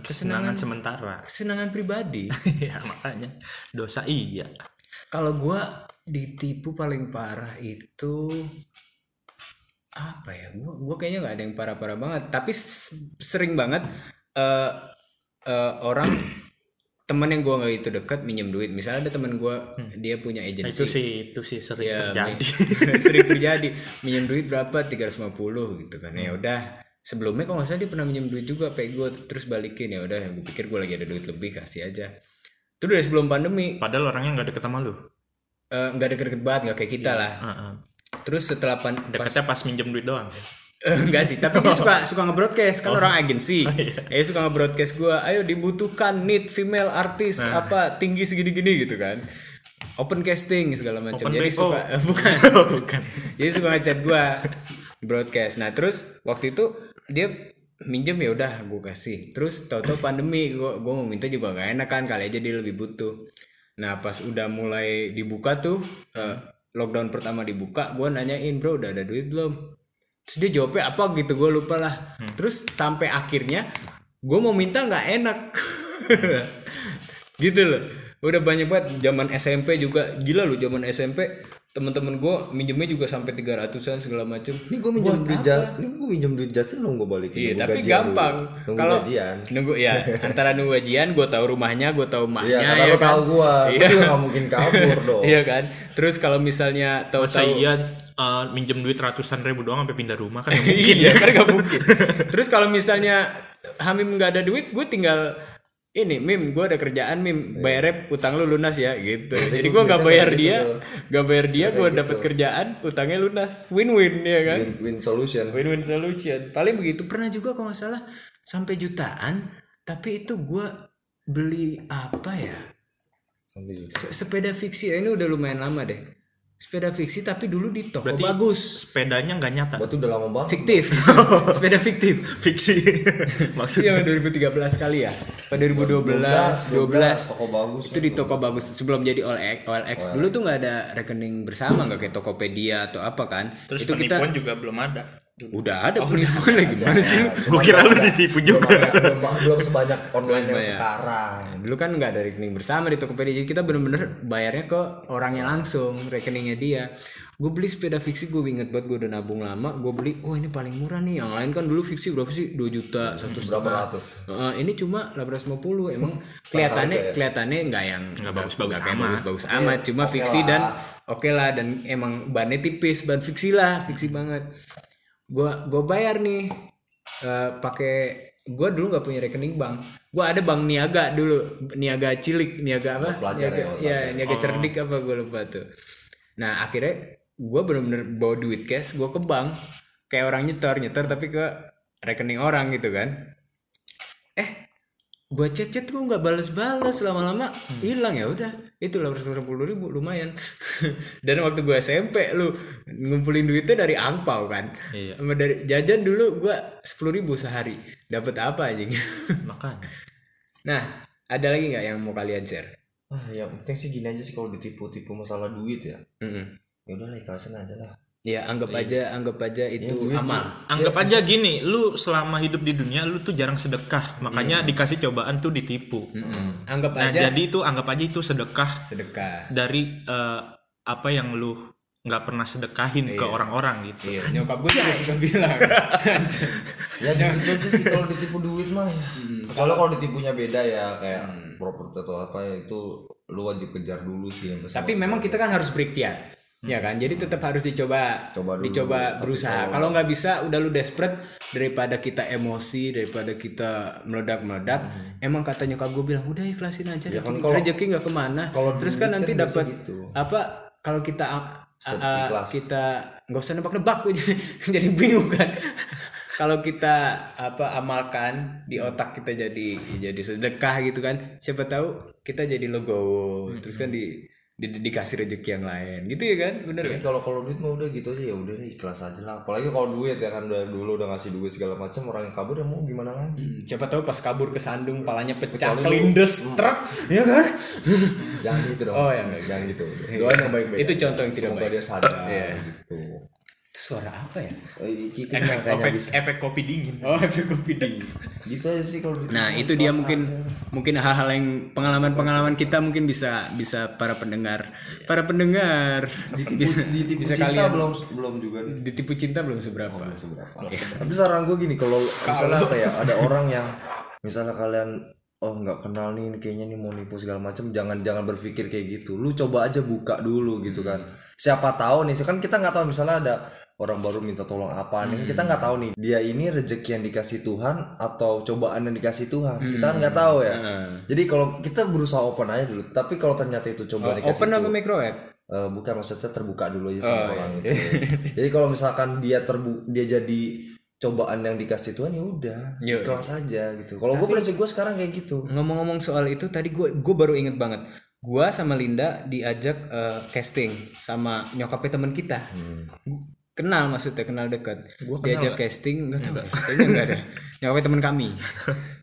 kesenangan, sementara kesenangan pribadi. ya makanya dosa iya Kalau gua ditipu paling parah itu apa ya? Gua gua kayaknya nggak ada yang parah-parah banget, tapi s- sering banget eh eh, orang temen yang gua nggak itu dekat minjem duit. Misalnya ada temen gua dia punya agensi Hmm. Nah, itu sih itu sih sering Ya, terjadi mi- sering terjadi minjem duit berapa 350 gitu kan Hmm. ya udah sebelumnya kok nggak salah dia pernah minjem duit juga pay gue terus balikin ya udah gue pikir gue lagi ada duit lebih kasih aja itu dari sebelum pandemi padahal orangnya nggak deket sama lu eh, nggak deket-deket banget nggak kayak kita lah Heeh. terus setelah pan pas- deketnya pas minjem duit doang Eh, enggak sih tapi dia suka suka nge-broadcast kan orang agensi eh suka nge-broadcast gue ayo dibutuhkan need female artis apa tinggi segini-gini gitu kan open casting segala macam Open jadi BO. suka bukan bukan jadi suka ngechat gue broadcast nah terus waktu itu dia minjem ya udah gue kasih terus tau-tau pandemi gue gue mau minta juga gak enak kan kali aja dia lebih butuh nah pas udah mulai dibuka tuh eh, lockdown pertama dibuka gue nanyain bro udah ada duit belum terus dia jawabnya apa gitu gue lupa lah terus sampai akhirnya gue mau minta nggak enak gitu loh udah banyak banget zaman SMP juga gila lu zaman SMP temen-temen gue minjemnya juga sampai 300an segala macem Ini gue minjem duit Justin, ini gue minjem duit Justin nunggu balikin. Iya, nunggu tapi gajian gampang. dulu. Nunggu Kalau gajian. nunggu ya antara nunggu gajian, gue tahu rumahnya, gue tahu mahnya, Iya, karena ya lo kan? tahu gue, Iya. gue juga gak mungkin kabur dong. Iya kan. Terus kalau misalnya masa tahu-tahu iya eh, minjem duit ratusan ribu doang sampai pindah rumah kan nggak mungkin iya kan gak mungkin. Terus kalau misalnya Hamim nggak ada duit, gue tinggal ini Mim, gue ada kerjaan Mim, bayarnya utang lu lunas ya gitu. Jadi gue nggak biasanya bayar kayak dia, gitu. nggak bayar dia, gue dapat kerjaan, utangnya lunas, win-win ya kan. Win, win solution. Win-win solution. Paling begitu pernah juga kalau nggak salah sampai jutaan, tapi itu gua beli apa ya? Se- Sepeda fiksi ini udah lumayan lama deh. Sepeda fiksi tapi dulu di toko Berarti- bagus, sepedanya nggak nyata Buat udah lama banget. fiktif. Sepeda fiktif. fiksi maksudnya Iya 2013 kali ya. Pada 2012, 12 toko bagus. itu di toko bagus sebelum jadi OLX, OLX dulu tuh nggak ada rekening bersama nggak kayak Tokopedia atau apa kan terus itu kita penipuan Oh, juga belum ada udah ada penipuan lagi gimana sih lu? Cuman Gua kira belum lu ada- ditipu belum juga. ada- Belum, belum sebanyak online yang sekarang. dulu kan nggak ada rekening bersama di Tokopedia jadi kita bener-bener bayarnya ke orangnya langsung rekeningnya dia gue beli sepeda fiksi gue inget banget gue udah nabung lama gue beli oh ini paling murah nih yang lain kan dulu fiksi berapa sih 2 juta satu Berapa ratus? Eh, ini cuma 850 emang ya? kelihatannya kelihatannya nggak yang nggak bagus-bagus nggak kayak amat. bagus-bagus Iya. amat cuma fiksi dan oke lah dan emang bannya tipis ban fiksi lah fiksi banget gua gua bayar nih eh, pakai gue dulu nggak punya rekening bank gue ada bank niaga dulu niaga cilik niaga apa pelajar niaga, ya, buat ya, niaga Oh. cerdik apa gue lupa tuh nah akhirnya gue bener-bener bawa duit cash gue ke bank kayak orang nyetor nyetor tapi ke rekening orang gitu kan eh gue chat chat gue nggak balas balas lama-lama Hmm. hilang ya udah itu lah ribu lumayan dan waktu gue SMP lu ngumpulin duitnya dari angpau kan Iya. Sama dari jajan dulu gue sepuluh ribu sehari dapat apa anjing makanya nah ada lagi nggak yang mau kalian share ah yang penting sih gini aja sih kalau ditipu-tipu masalah duit ya Mm-mm. ya udah lah ikhlasin aja lah ya anggap Iya. aja anggap aja Ya, itu gitu. amal anggap aja gini lu selama hidup di dunia lu tuh jarang sedekah makanya dikasih cobaan tuh ditipu anggap nah aja jadi itu anggap aja itu sedekah sedekah dari eh, apa yang lu nggak pernah sedekahin ke orang-orang gitu iya nyokap gue juga suka bilang ya gitu aja sih kalau ditipu duit mah ya. Hmm. kalau kalau ditipunya beda ya kayak properti atau apa ya, itu lu wajib kejar dulu sih yang besar. tapi memang kita kan harus berikhtiar ya kan jadi tetap harus dicoba Hmm. Coba dulu, dicoba tapi berusaha kalau- kalau nggak bisa udah lu desperate daripada kita emosi daripada kita meledak meledak emang kata nyokap gue bilang udah ikhlasin aja Hmm. Ya kan rezeki- kalau- rezeki nggak kemana kalau terus duit kan kan nanti biasa dapat gitu. apa kalau kita eh, a- a- a- Ikhlas. kita nggak usah nebak nebak gue jadi, jadi bingung kan kalau kita apa amalkan di otak kita jadi jadi sedekah gitu kan siapa tahu kita jadi logo terus kan di, di- dikasih rezeki yang lain gitu ya kan bener Tapi kan? kalau kalau duit mah udah gitu aja ya udah deh ikhlas aja lah apalagi kalau duit ya kan udah dulu udah ngasih duit segala macam orang yang kabur ya mau gimana lagi Hmm, siapa tahu pas kabur ke sandung palanya pecah Kecuali lu- Hmm. kelindes truk ya kan jangan gitu dong Oh, ya. jangan gitu doain yang baik-baik Itu contoh yang tidak semoga baik. dia sadar Iya. gitu itu suara apa ya Eh, gitu efek, makanya efek, habis efek kopi dingin oh efek kopi dingin gitu aja sih kalau ditipu, Nah, itu dia ikhlas mungkin aja lah. mungkin hal-hal yang pengalaman-pengalaman kita mungkin bisa bisa para pendengar, para pendengar ditipu, bisa, ditipu bisa cinta kalian belum belum juga nih ditipu cinta belum seberapa. seberapa. Tapi saran gue gini, kalau misalnya apa ya, ada orang yang misalnya kalian oh nggak kenal nih, ini kayaknya nih mau nipu segala macam, jangan jangan berpikir kayak gitu. Lu coba aja buka dulu gitu kan. Hmm. Siapa tahu nih, kan kita nggak tahu misalnya ada orang baru minta tolong apa nih, Hmm. kita nggak tahu nih dia ini rezeki yang dikasih Tuhan atau cobaan yang dikasih Tuhan. Kita kan Hmm. nggak tahu ya. Jadi kalau kita berusaha open aja dulu, tapi kalau ternyata itu cobaan Oh, dikasih Open apa microwave? Eh, bukan maksudnya terbuka dulu Oh, aja sama orang iya. itu. jadi kalau misalkan dia terbu dia jadi cobaan yang dikasih Tuhan ya udah Yo. kelas aja gitu. Kalau gue prinsip gue sekarang kayak gitu. Ngomong-ngomong soal itu tadi gue gue baru inget banget. Gua sama Linda diajak eh, casting sama nyokapnya teman kita. Hmm. Kenal maksudnya kenal dekat. diajak casting enggak tahu kayaknya enggak ada. Nyokapnya teman kami.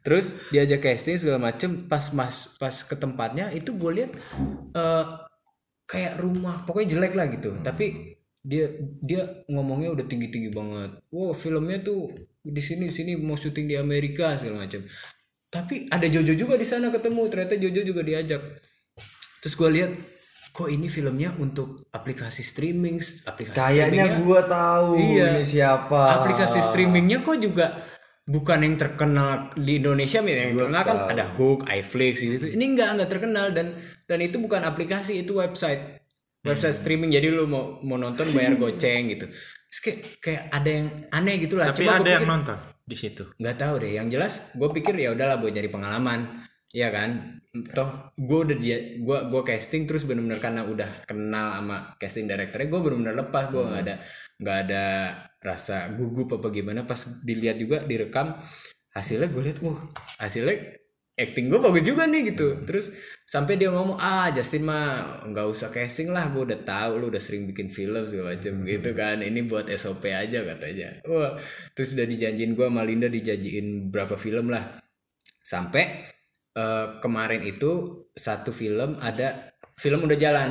Terus diajak casting segala macem pas mas pas ke tempatnya itu gue lihat eh, kayak rumah pokoknya jelek lah gitu. Tapi dia dia ngomongnya udah tinggi tinggi banget. Wow filmnya tuh di sini di sini mau syuting di Amerika segala macem. Tapi ada Jojo juga di sana ketemu ternyata Jojo juga diajak. Terus gue lihat kok ini filmnya untuk aplikasi streaming aplikasi Kayaknya streamingnya- gue tahu Iya. ini siapa. aplikasi streamingnya kok juga bukan yang terkenal di Indonesia misalnya yang terkenal kan ada Hook, iFlix gitu. Ini enggak enggak terkenal dan dan itu bukan aplikasi itu website Hmm. website streaming jadi lu mau mau nonton bayar goceng gitu. Terus kayak, kayak ada yang aneh gitu lah. tapi Coba gua ada yang pikir- nonton di situ nggak tahu deh yang jelas gue pikir ya udahlah buat nyari pengalaman ya kan toh gue udah dia gue gue casting terus bener-bener karena udah kenal sama casting directornya gue bener-bener lepas gue nggak ada nggak ada rasa gugup apa gimana pas dilihat juga direkam hasilnya gue lihat wah hasilnya acting gue bagus juga nih gitu terus sampai dia ngomong ah Justin mah nggak usah casting lah gue udah tahu lu udah sering bikin film segala macem gitu kan ini buat SOP aja katanya wah terus udah dijanjiin gue sama Linda dijanjiin berapa film lah sampai eh, kemarin itu satu film ada film udah jalan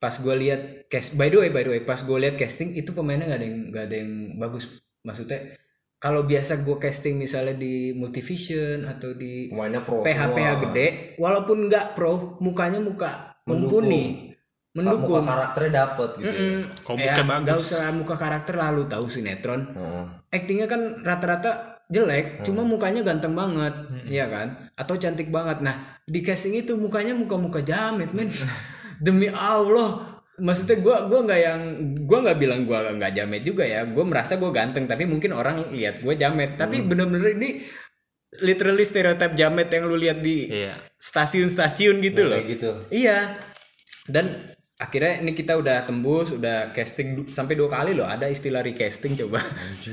pas gue lihat cast by the way by the way pas gue lihat casting itu pemainnya nggak ada yang nggak ada yang bagus maksudnya kalau biasa gue casting misalnya di Multivision atau di Pemainnya pro. PH PH semua. gede walaupun nggak pro mukanya muka mumpuni Muka mendukung karakternya dapet gitu. ya. Kok muka bagus? gak usah muka karakter lalu tahu sinetron Heeh. actingnya kan rata-rata Hmm. jelek cuma mukanya ganteng banget Hmm. iya kan atau cantik banget nah di casting itu mukanya muka-muka jamet men demi Allah maksudnya gua gua nggak yang gua nggak bilang gua Hmm. nggak jamet juga ya gue merasa gue ganteng tapi mungkin orang lihat gue jamet tapi bener-bener ini literally stereotip jamet yang lu lihat di Iya. stasiun-stasiun gitu loh. kayak gitu Iya. Dan akhirnya ini kita udah tembus, udah casting du- sampai dua kali loh. Ada istilah recasting coba.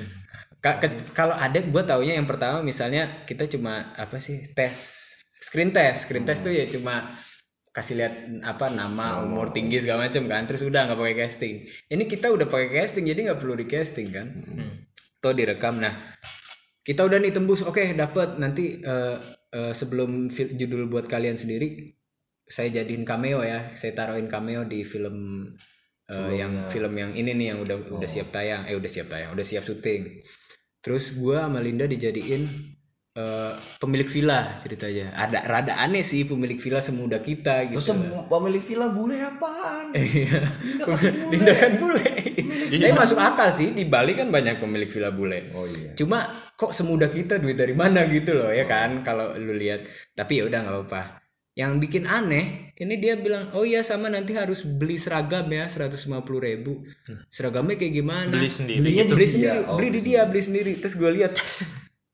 Ka- ke- Kalau ada, gue taunya yang pertama misalnya kita cuma apa sih tes screen test, screen test tuh ya cuma kasih lihat apa nama, umur tinggi segala macam kan. Terus udah nggak pakai casting. Ini kita udah pakai casting, jadi nggak perlu recasting kan. Atau direkam. Nah, kita udah nih tembus oke dapat nanti eh, eh, sebelum fil- judul buat kalian sendiri saya jadiin cameo ya saya taruhin cameo di film eh, yang film yang ini nih yang udah udah siap tayang eh udah siap tayang udah siap syuting terus gua sama Linda dijadiin eh, pemilik villa ceritanya ada rada aneh sih pemilik villa semuda kita gitu terus sem- pemilik villa bule apaan Iya. Linda kan bule. Tapi masuk akal sih di Bali kan banyak pemilik villa bule. Oh, iya. Cuma kok semudah kita duit dari mana gitu loh ya kan kalau lu lihat. Tapi ya udah nggak apa-apa. Yang bikin aneh ini dia bilang oh iya sama nanti harus beli seragam ya 150 ribu. Seragamnya kayak gimana? Beli sendiri Belinya gitu. Iya, beli Dia, sendiri. oh, beli di dia beli sendiri. Terus gue lihat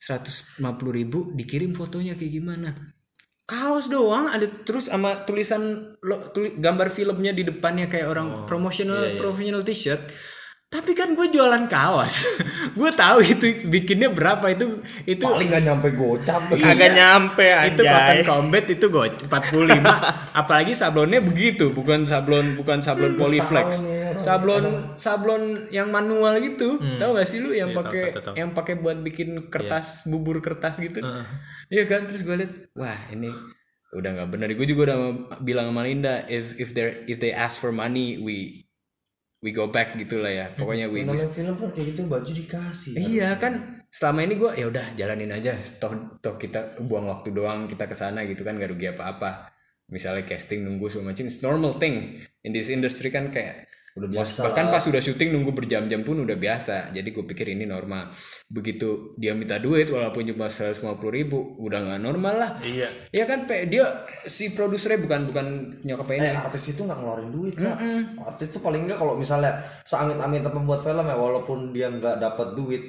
150 ribu dikirim fotonya kayak gimana? kaos doang ada terus sama tulisan lo- tuli- gambar filmnya di depannya kayak orang promotional professional t-shirt tapi kan gue jualan kaos gue tahu itu bikinnya berapa itu itu paling nggak nyampe gocap Iya. Agak nyampe itu anjay. cotton combat itu gue 45 apalagi sablonnya begitu bukan sablon bukan sablon polyflex sablon sablon yang manual gitu tahu gak sih lu yang pakai tahu, tahu, tahu. yang pakai buat bikin kertas bubur kertas gitu iya kan terus gue liat wah ini udah nggak benar gue juga udah bilang sama Linda if if they if they ask for money we we go back gitulah ya pokoknya we, we namanya film kan kayak gitu baju dikasih Iya kan selama ini gue ya udah jalanin aja toh toh kita buang waktu doang kita kesana gitu kan gak rugi apa-apa misalnya casting nunggu segala macam it's normal thing in this industry kan kayak udah biasa bahkan pas udah syuting nunggu berjam-jam pun udah biasa jadi gue pikir ini normal begitu dia minta duit walaupun cuma 150 ribu udah nggak normal lah Iya. ya kan Pe, dia si produsernya bukan bukan nyokapnya ini Iya. eh artis itu nggak ngeluarin duit Kak. artis itu paling nggak kalau misalnya seangit-angit pembuat film ya walaupun dia nggak dapat duit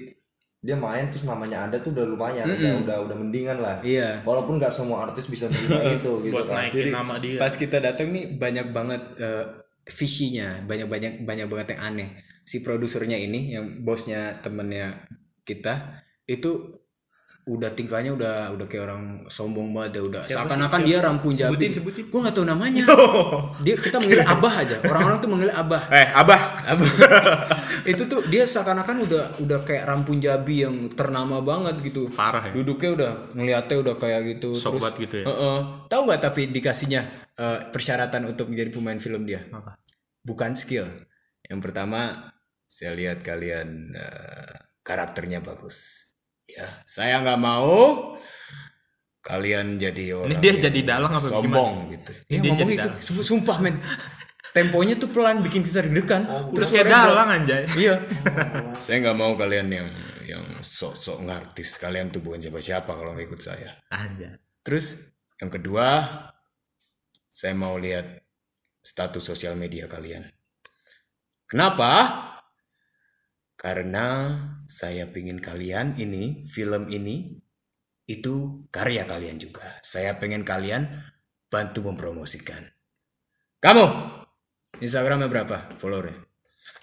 dia main terus namanya ada tuh udah lumayan udah, udah udah mendingan lah Iya. walaupun nggak semua artis bisa menerima itu gitu Buat kan naikin nama dia. Pas kita datang nih banyak banget eh, visinya, banyak-banyak banyak banget yang aneh. Si produsernya ini yang bosnya temennya kita itu udah tingkahnya udah udah kayak orang sombong banget ya udah seakan-akan dia rampun jabi. Sebutin, sebutin. Gua nggak tahu namanya. dia kita manggil abah aja. Orang-orang tuh manggil abah. Eh, Abah. Abah. itu tuh dia seakan-akan udah udah kayak rampun jabi yang ternama banget gitu. Parah ya. Duduknya udah ngeliatnya udah kayak gitu. Sok banget gitu ya. Heeh. Tahu nggak tapi dikasihnya eh, persyaratan untuk menjadi pemain film dia? Bukan skill. Yang pertama saya lihat kalian eh, karakternya bagus. Ya, saya nggak mau kalian jadi orang Ini dia yang jadi dalang apa gimana? sombong gitu. Ya, dia ngomong jadi itu dalang. Su- sumpah men. Temponya tuh pelan bikin kita deg-degan. Terus kayak suaranya dalang anjay. Iya. saya nggak mau kalian yang yang sok-sok ngartis. Kalian tuh bukan siapa-siapa kalau nggak ikut saya. Anjay. Terus yang kedua, saya mau lihat status sosial media kalian. Kenapa? Karena saya pingin kalian ini, film ini, itu karya kalian juga. Saya pengen kalian bantu mempromosikan. Kamu, Instagramnya berapa followernya?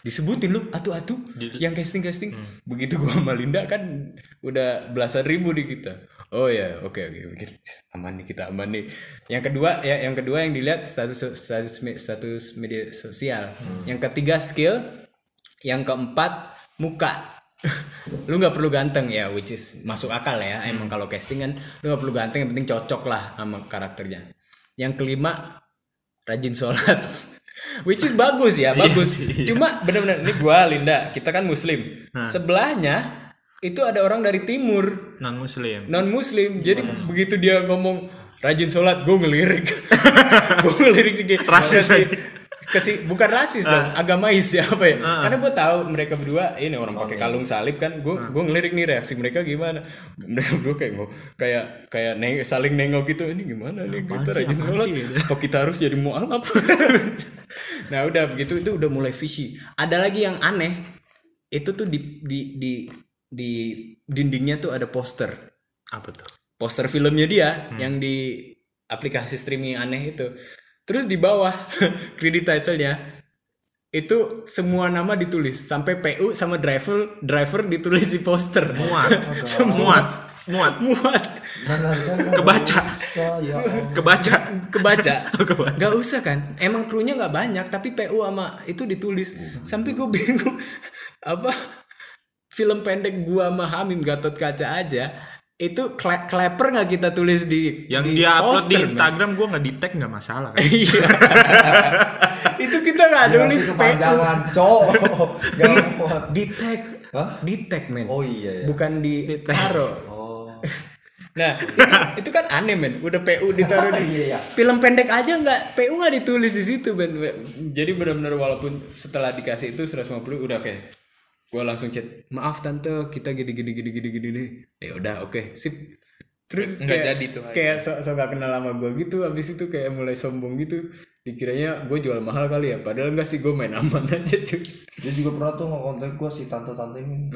Disebutin lu atu-atu yang casting-casting. Begitu gua sama Linda kan udah belasan ribu di kita. Oh ya, oke oke oke. Aman nih kita aman nih. Yang kedua ya yang kedua yang dilihat status status me- status media sosial. Yang ketiga skill yang keempat muka lu nggak perlu ganteng ya which is masuk akal ya emang kalau casting kan lu nggak perlu ganteng yang penting cocok lah sama karakternya yang kelima rajin sholat which is bagus ya bagus cuma bener-bener ini gua Linda kita kan muslim sebelahnya itu ada orang dari timur Non muslim. non muslim jadi begitu dia ngomong rajin sholat gue ngelirik gue ngelirik lagi Rasis Ah. Kasi- lagi. kasi bukan rasis dong agamais ya apa ya Ah. karena gue tahu mereka berdua ini orang pakai kalung salib kan gue Ah. gue ngelirik nih reaksi mereka gimana mereka berdua kayak ngo- kayak kayak neng- saling nengok gitu ini gimana nih kita sih, rajin apaan sholat sih? apa kita harus jadi mualaf nah udah begitu itu udah mulai fishy ada lagi yang aneh itu tuh di di di di dindingnya tuh ada poster Apa tuh? poster filmnya dia Hmm. yang di aplikasi streaming aneh itu. Terus di bawah kredit title-nya itu semua nama ditulis sampai PU sama driver driver ditulis di poster. muat semua muat muat muat Mana saya kebaca saya kebaca kebaca. Oh, Kebaca. Gak usah kan? Emang krunya nggak banyak tapi PU sama itu ditulis. Sampai gue bingung apa film pendek gua sama Hamim Gatot Kaca aja itu kle- kleper nggak kita tulis di yang dia upload di poster, men? Instagram gue nggak di tag nggak masalah kan Iya. itu kita nggak nulis Nulis PU Iya, kepanjangan, cok. Jangan muat. di tag Hah? di tag men Oh iya ya. bukan di taro Oh. nah itu, itu kan aneh men udah PU ditaruh di Iya, iya. film pendek aja nggak PU nggak ditulis di situ men jadi benar-benar walaupun setelah dikasih itu 150 udah oke gua langsung chat maaf tante kita gini gini gini gini gini nih ya udah oke sip terus Nggak kayak- jadi tuh hari. kayak sok sok gak kenal sama gue gitu abis itu kayak mulai sombong gitu dikiranya gue jual mahal kali ya padahal enggak sih gue main aman aja cuy Dia juga pernah tuh ngontak gue si tante-tante ini.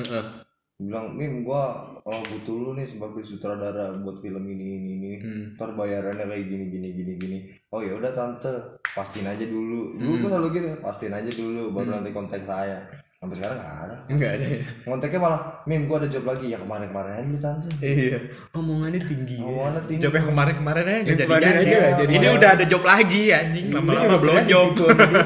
bilang Mim gua oh, butuh lu nih sebagai sutradara buat film ini ini ini Hmm. ntar bayarannya kayak gini gini gini gini oh ya udah tante pastiin aja Hmm. dulu dulu gua selalu gitu pastiin aja dulu baru nanti kontak saya sampai sekarang nggak ada enggak ada ya? kontaknya malah Mim gua ada job lagi ya kemarin kemarin aja nih, tante Iya. Omongannya tinggi. awalnya tinggi job yang kemarin kemarin aja nggak jadi Kemarin jadi aja nggak jadi. ini udah ada job lagi anjing Iya, lama-lama belum job gitu,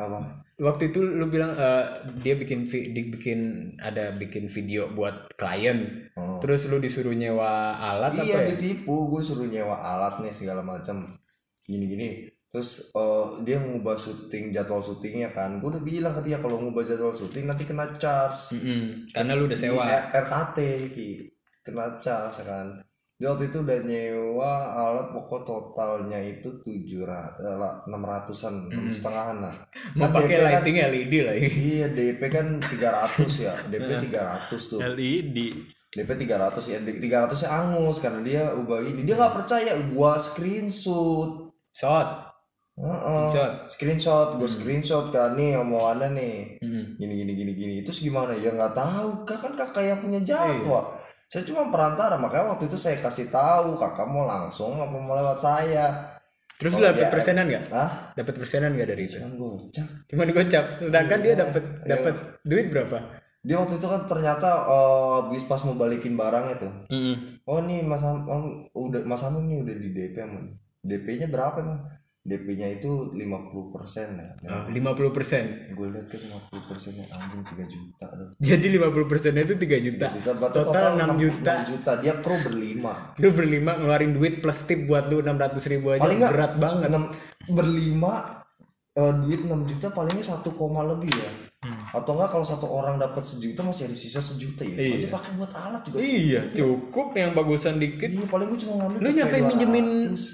apa Waktu itu lu bilang eh, dia bikin vi- di- bikin ada bikin video buat klien. Oh. Terus lu disuruh nyewa alat apa iya ya? ditipu gue suruh nyewa alat nih segala macam gini gini terus eh, dia ngubah syuting jadwal syutingnya kan gue udah bilang ke dia kalau ngubah jadwal syuting nanti kena charge Mm-mm, Hmm, Karena lu udah Di eh, sewa. R- RKT ki kena charge kan dia waktu itu udah nyewa alat pokok totalnya itu tujuh eh, enam ratusan enam setengahan lah Mau Kan pakai DP kan- lighting E LED lagi. iya DP kan 300 ya DP 300 tuh LED DP 300 ya, 300 nya angus karena dia ubah ini. Dia nggak percaya, gua screenshot. Shot. Heeh. Screenshot. Screenshot, gua screenshot kan nih omongannya nih. Gini gini gini gini. Terus gimana? Ya nggak tahu. Kak kan kakak yang punya jadwal. Saya cuma perantara, makanya waktu itu saya kasih tahu kakak mau langsung apa mau lewat saya. Terus lu Oh, dapet iya. persenan nggak? Hah? Dapat persenan nggak dari itu? Kan gocak. Cuman gocap. Sedangkan Iya. dia dapat dapat duit berapa? Dia waktu itu kan ternyata eh, habis pas mau balikin barang itu. Oh nih Mas Ham, oh, udah Mas Hamim nih udah di DP Mon. DP-nya berapa emang? DP-nya itu 50% ya. Ah. Nah, 50 gue lihat kan 50 persennya anjing 3 juta dong. Jadi 50 itu 3 juta. Juta, berarti Total 6 juta. 6 juta. Dia kru berlima. Lu berlima ngeluarin duit plus tip buat lu 600 ribu aja. Paling nggak Berat banget. enam berlima eh, duit 6 juta palingnya 1, koma lebih ya. Hmm. Atau enggak kalau satu orang dapat sejuta masih ada sisa sejuta ya. Masih pakai buat alat juga. Iya, cukup yang bagusan dikit. Iya, paling gue cuma ngambil Lu cepet nyampe 200. minjemin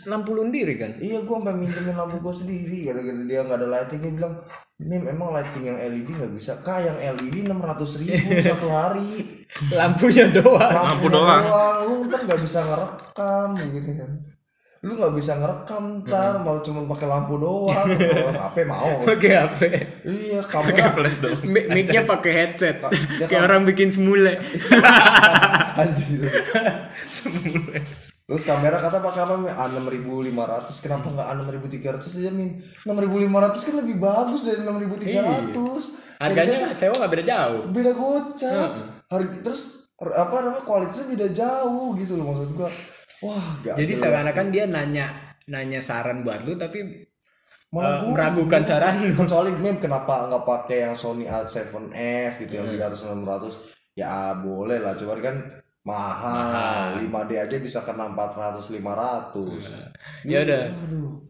lampu lundiri kan? Iya gue sampai minjemin lampu gue sendiri gara-gara dia nggak ada lighting dia bilang Mim emang lighting yang LED nggak bisa kak yang E LED 600 ribu satu hari Lampunya doang. lampu doang. lu ntar nggak bisa ngerekam gitu kan lu nggak bisa ngerekam ntar mau cuma pakai lampu doang Kalau HP mau Pakai HP. iya kamera plus dong Mi- Mic-nya pakai headset. Dia Kayak orang bikin semule. anjir terus kamera kata pakai apa Mim? Ah, 6500 kenapa nggak 6300 aja Mim 6500 kan lebih bagus dari Iya. 6300 Harganya Harganya sewa nggak beda jauh. beda gocap harga terus r- apa namanya kualitasnya beda jauh gitu loh maksud gua wah gak Jadi jelas. seakan-akan dia nanya nanya saran buat lu tapi Malah eh, gua- meragukan saran lu. kecuali meme kenapa nggak pakai yang Sony A7s gitu yang 300 600 ya boleh lah cuman kan mahal, 5D aja bisa kena 400 500 Ya udah.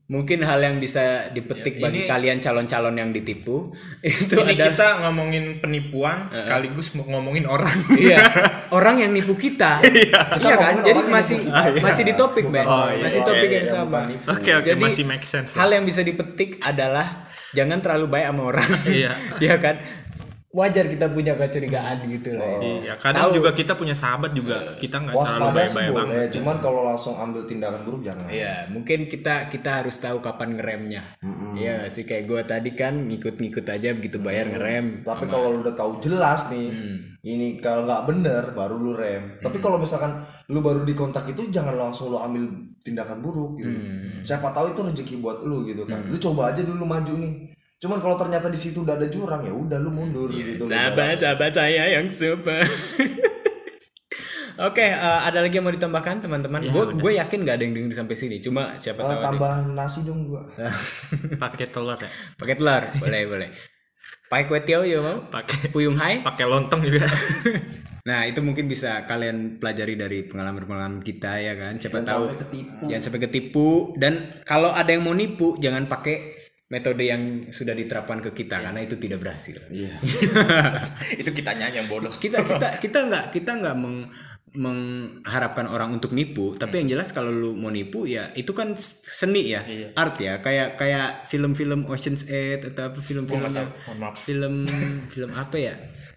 Mungkin hal yang bisa dipetik bagi kalian calon-calon yang ditipu itu ini ada kita ngomongin penipuan sekaligus mau ngomongin orang Iya, orang yang nipu kita. Iya kan? ngomongin Jadi orang yang masih nipu kita. masih di topik, Oh, Ben. iya, masih iya, topik iya, yang iya, sama. bukan nipu. oke oke Jadi, masih make sense lah. Hal yang bisa dipetik adalah jangan terlalu baik sama orang. Iya. Iya kan? Wajar kita punya kecurigaan gitu lah. ya. Oh. Iya, kadang juga kita punya sahabat juga kita nggak Kan terlalu waspada sih baik-baik banget. boleh cuman kalau langsung ambil tindakan buruk jangan Iya, mungkin kita kita harus tahu kapan ngeremnya. Mm-mm. Iya nggak sih kayak gue tadi kan ngikut-ngikut aja begitu bayar ngerem. Tapi kalau lu udah tahu jelas nih, ini kalau nggak bener baru lu rem. Tapi kalau misalkan lu baru dikontak itu jangan langsung lu ambil tindakan buruk gitu. Siapa tahu itu rezeki buat lu gitu kan. Lu coba aja dulu maju nih. Cuman kalau ternyata di situ udah ada jurang ya udah lu mundur gitu. Sahabat-sahabat saya yang super. Oke, eh, ada lagi yang mau ditambahkan teman-teman? Gue gue yakin nggak ada yang denger sampai sini. Cuma siapa Eh, tahu tambah nasi dong gua. pakai telur ya pakai telur, boleh boleh. Pakai kue tiaw ya mau? pakai Puyung hai. pakai lontong juga Nah itu mungkin bisa kalian pelajari dari pengalaman-pengalaman kita ya kan. Siapa tahu Sampai ketipu. jangan sampai ketipu dan kalau ada yang mau nipu jangan pakai metode yang sudah diterapkan ke Iya. kita karena itu tidak berhasil. itu kitanya yang bodoh kita kita kita nggak kita nggak meng- mengharapkan orang untuk nipu tapi yang jelas kalau lu mau nipu ya itu kan seni ya art ya kayak kayak film-film Ocean's Eight atau apa film-film yang- film film apa ya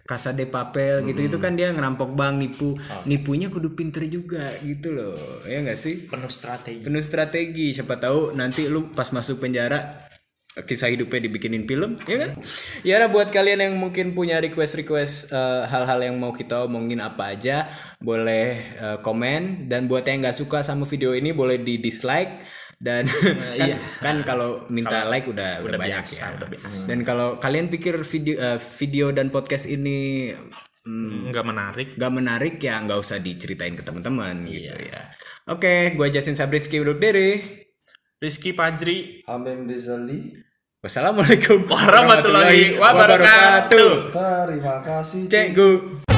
Casa de Papel gitu itu kan dia ngerampok bank nipu nipunya kudu pinter juga gitu loh ya nggak sih penuh strategi penuh strategi siapa tahu nanti lu pas masuk penjara kisah hidupnya dibikinin film ya kan ya Ra, buat kalian yang mungkin punya request request hal-hal yang mau kita omongin apa aja boleh eh, komen dan buat yang nggak suka sama video ini boleh di dislike dan kan, kan kalau minta like udah udah, banyak ya dan kalau kalian pikir video eh, video dan podcast ini mm, Hmm, nggak menarik gak menarik ya nggak usah diceritain ke teman-teman gitu ya. Oke, gue Justin Sabritski undur diri. Rizky Pajri Amin Rizali. Wassalamualaikum Warahmatullahi wabarakatuh. Terima kasih. Cekgu.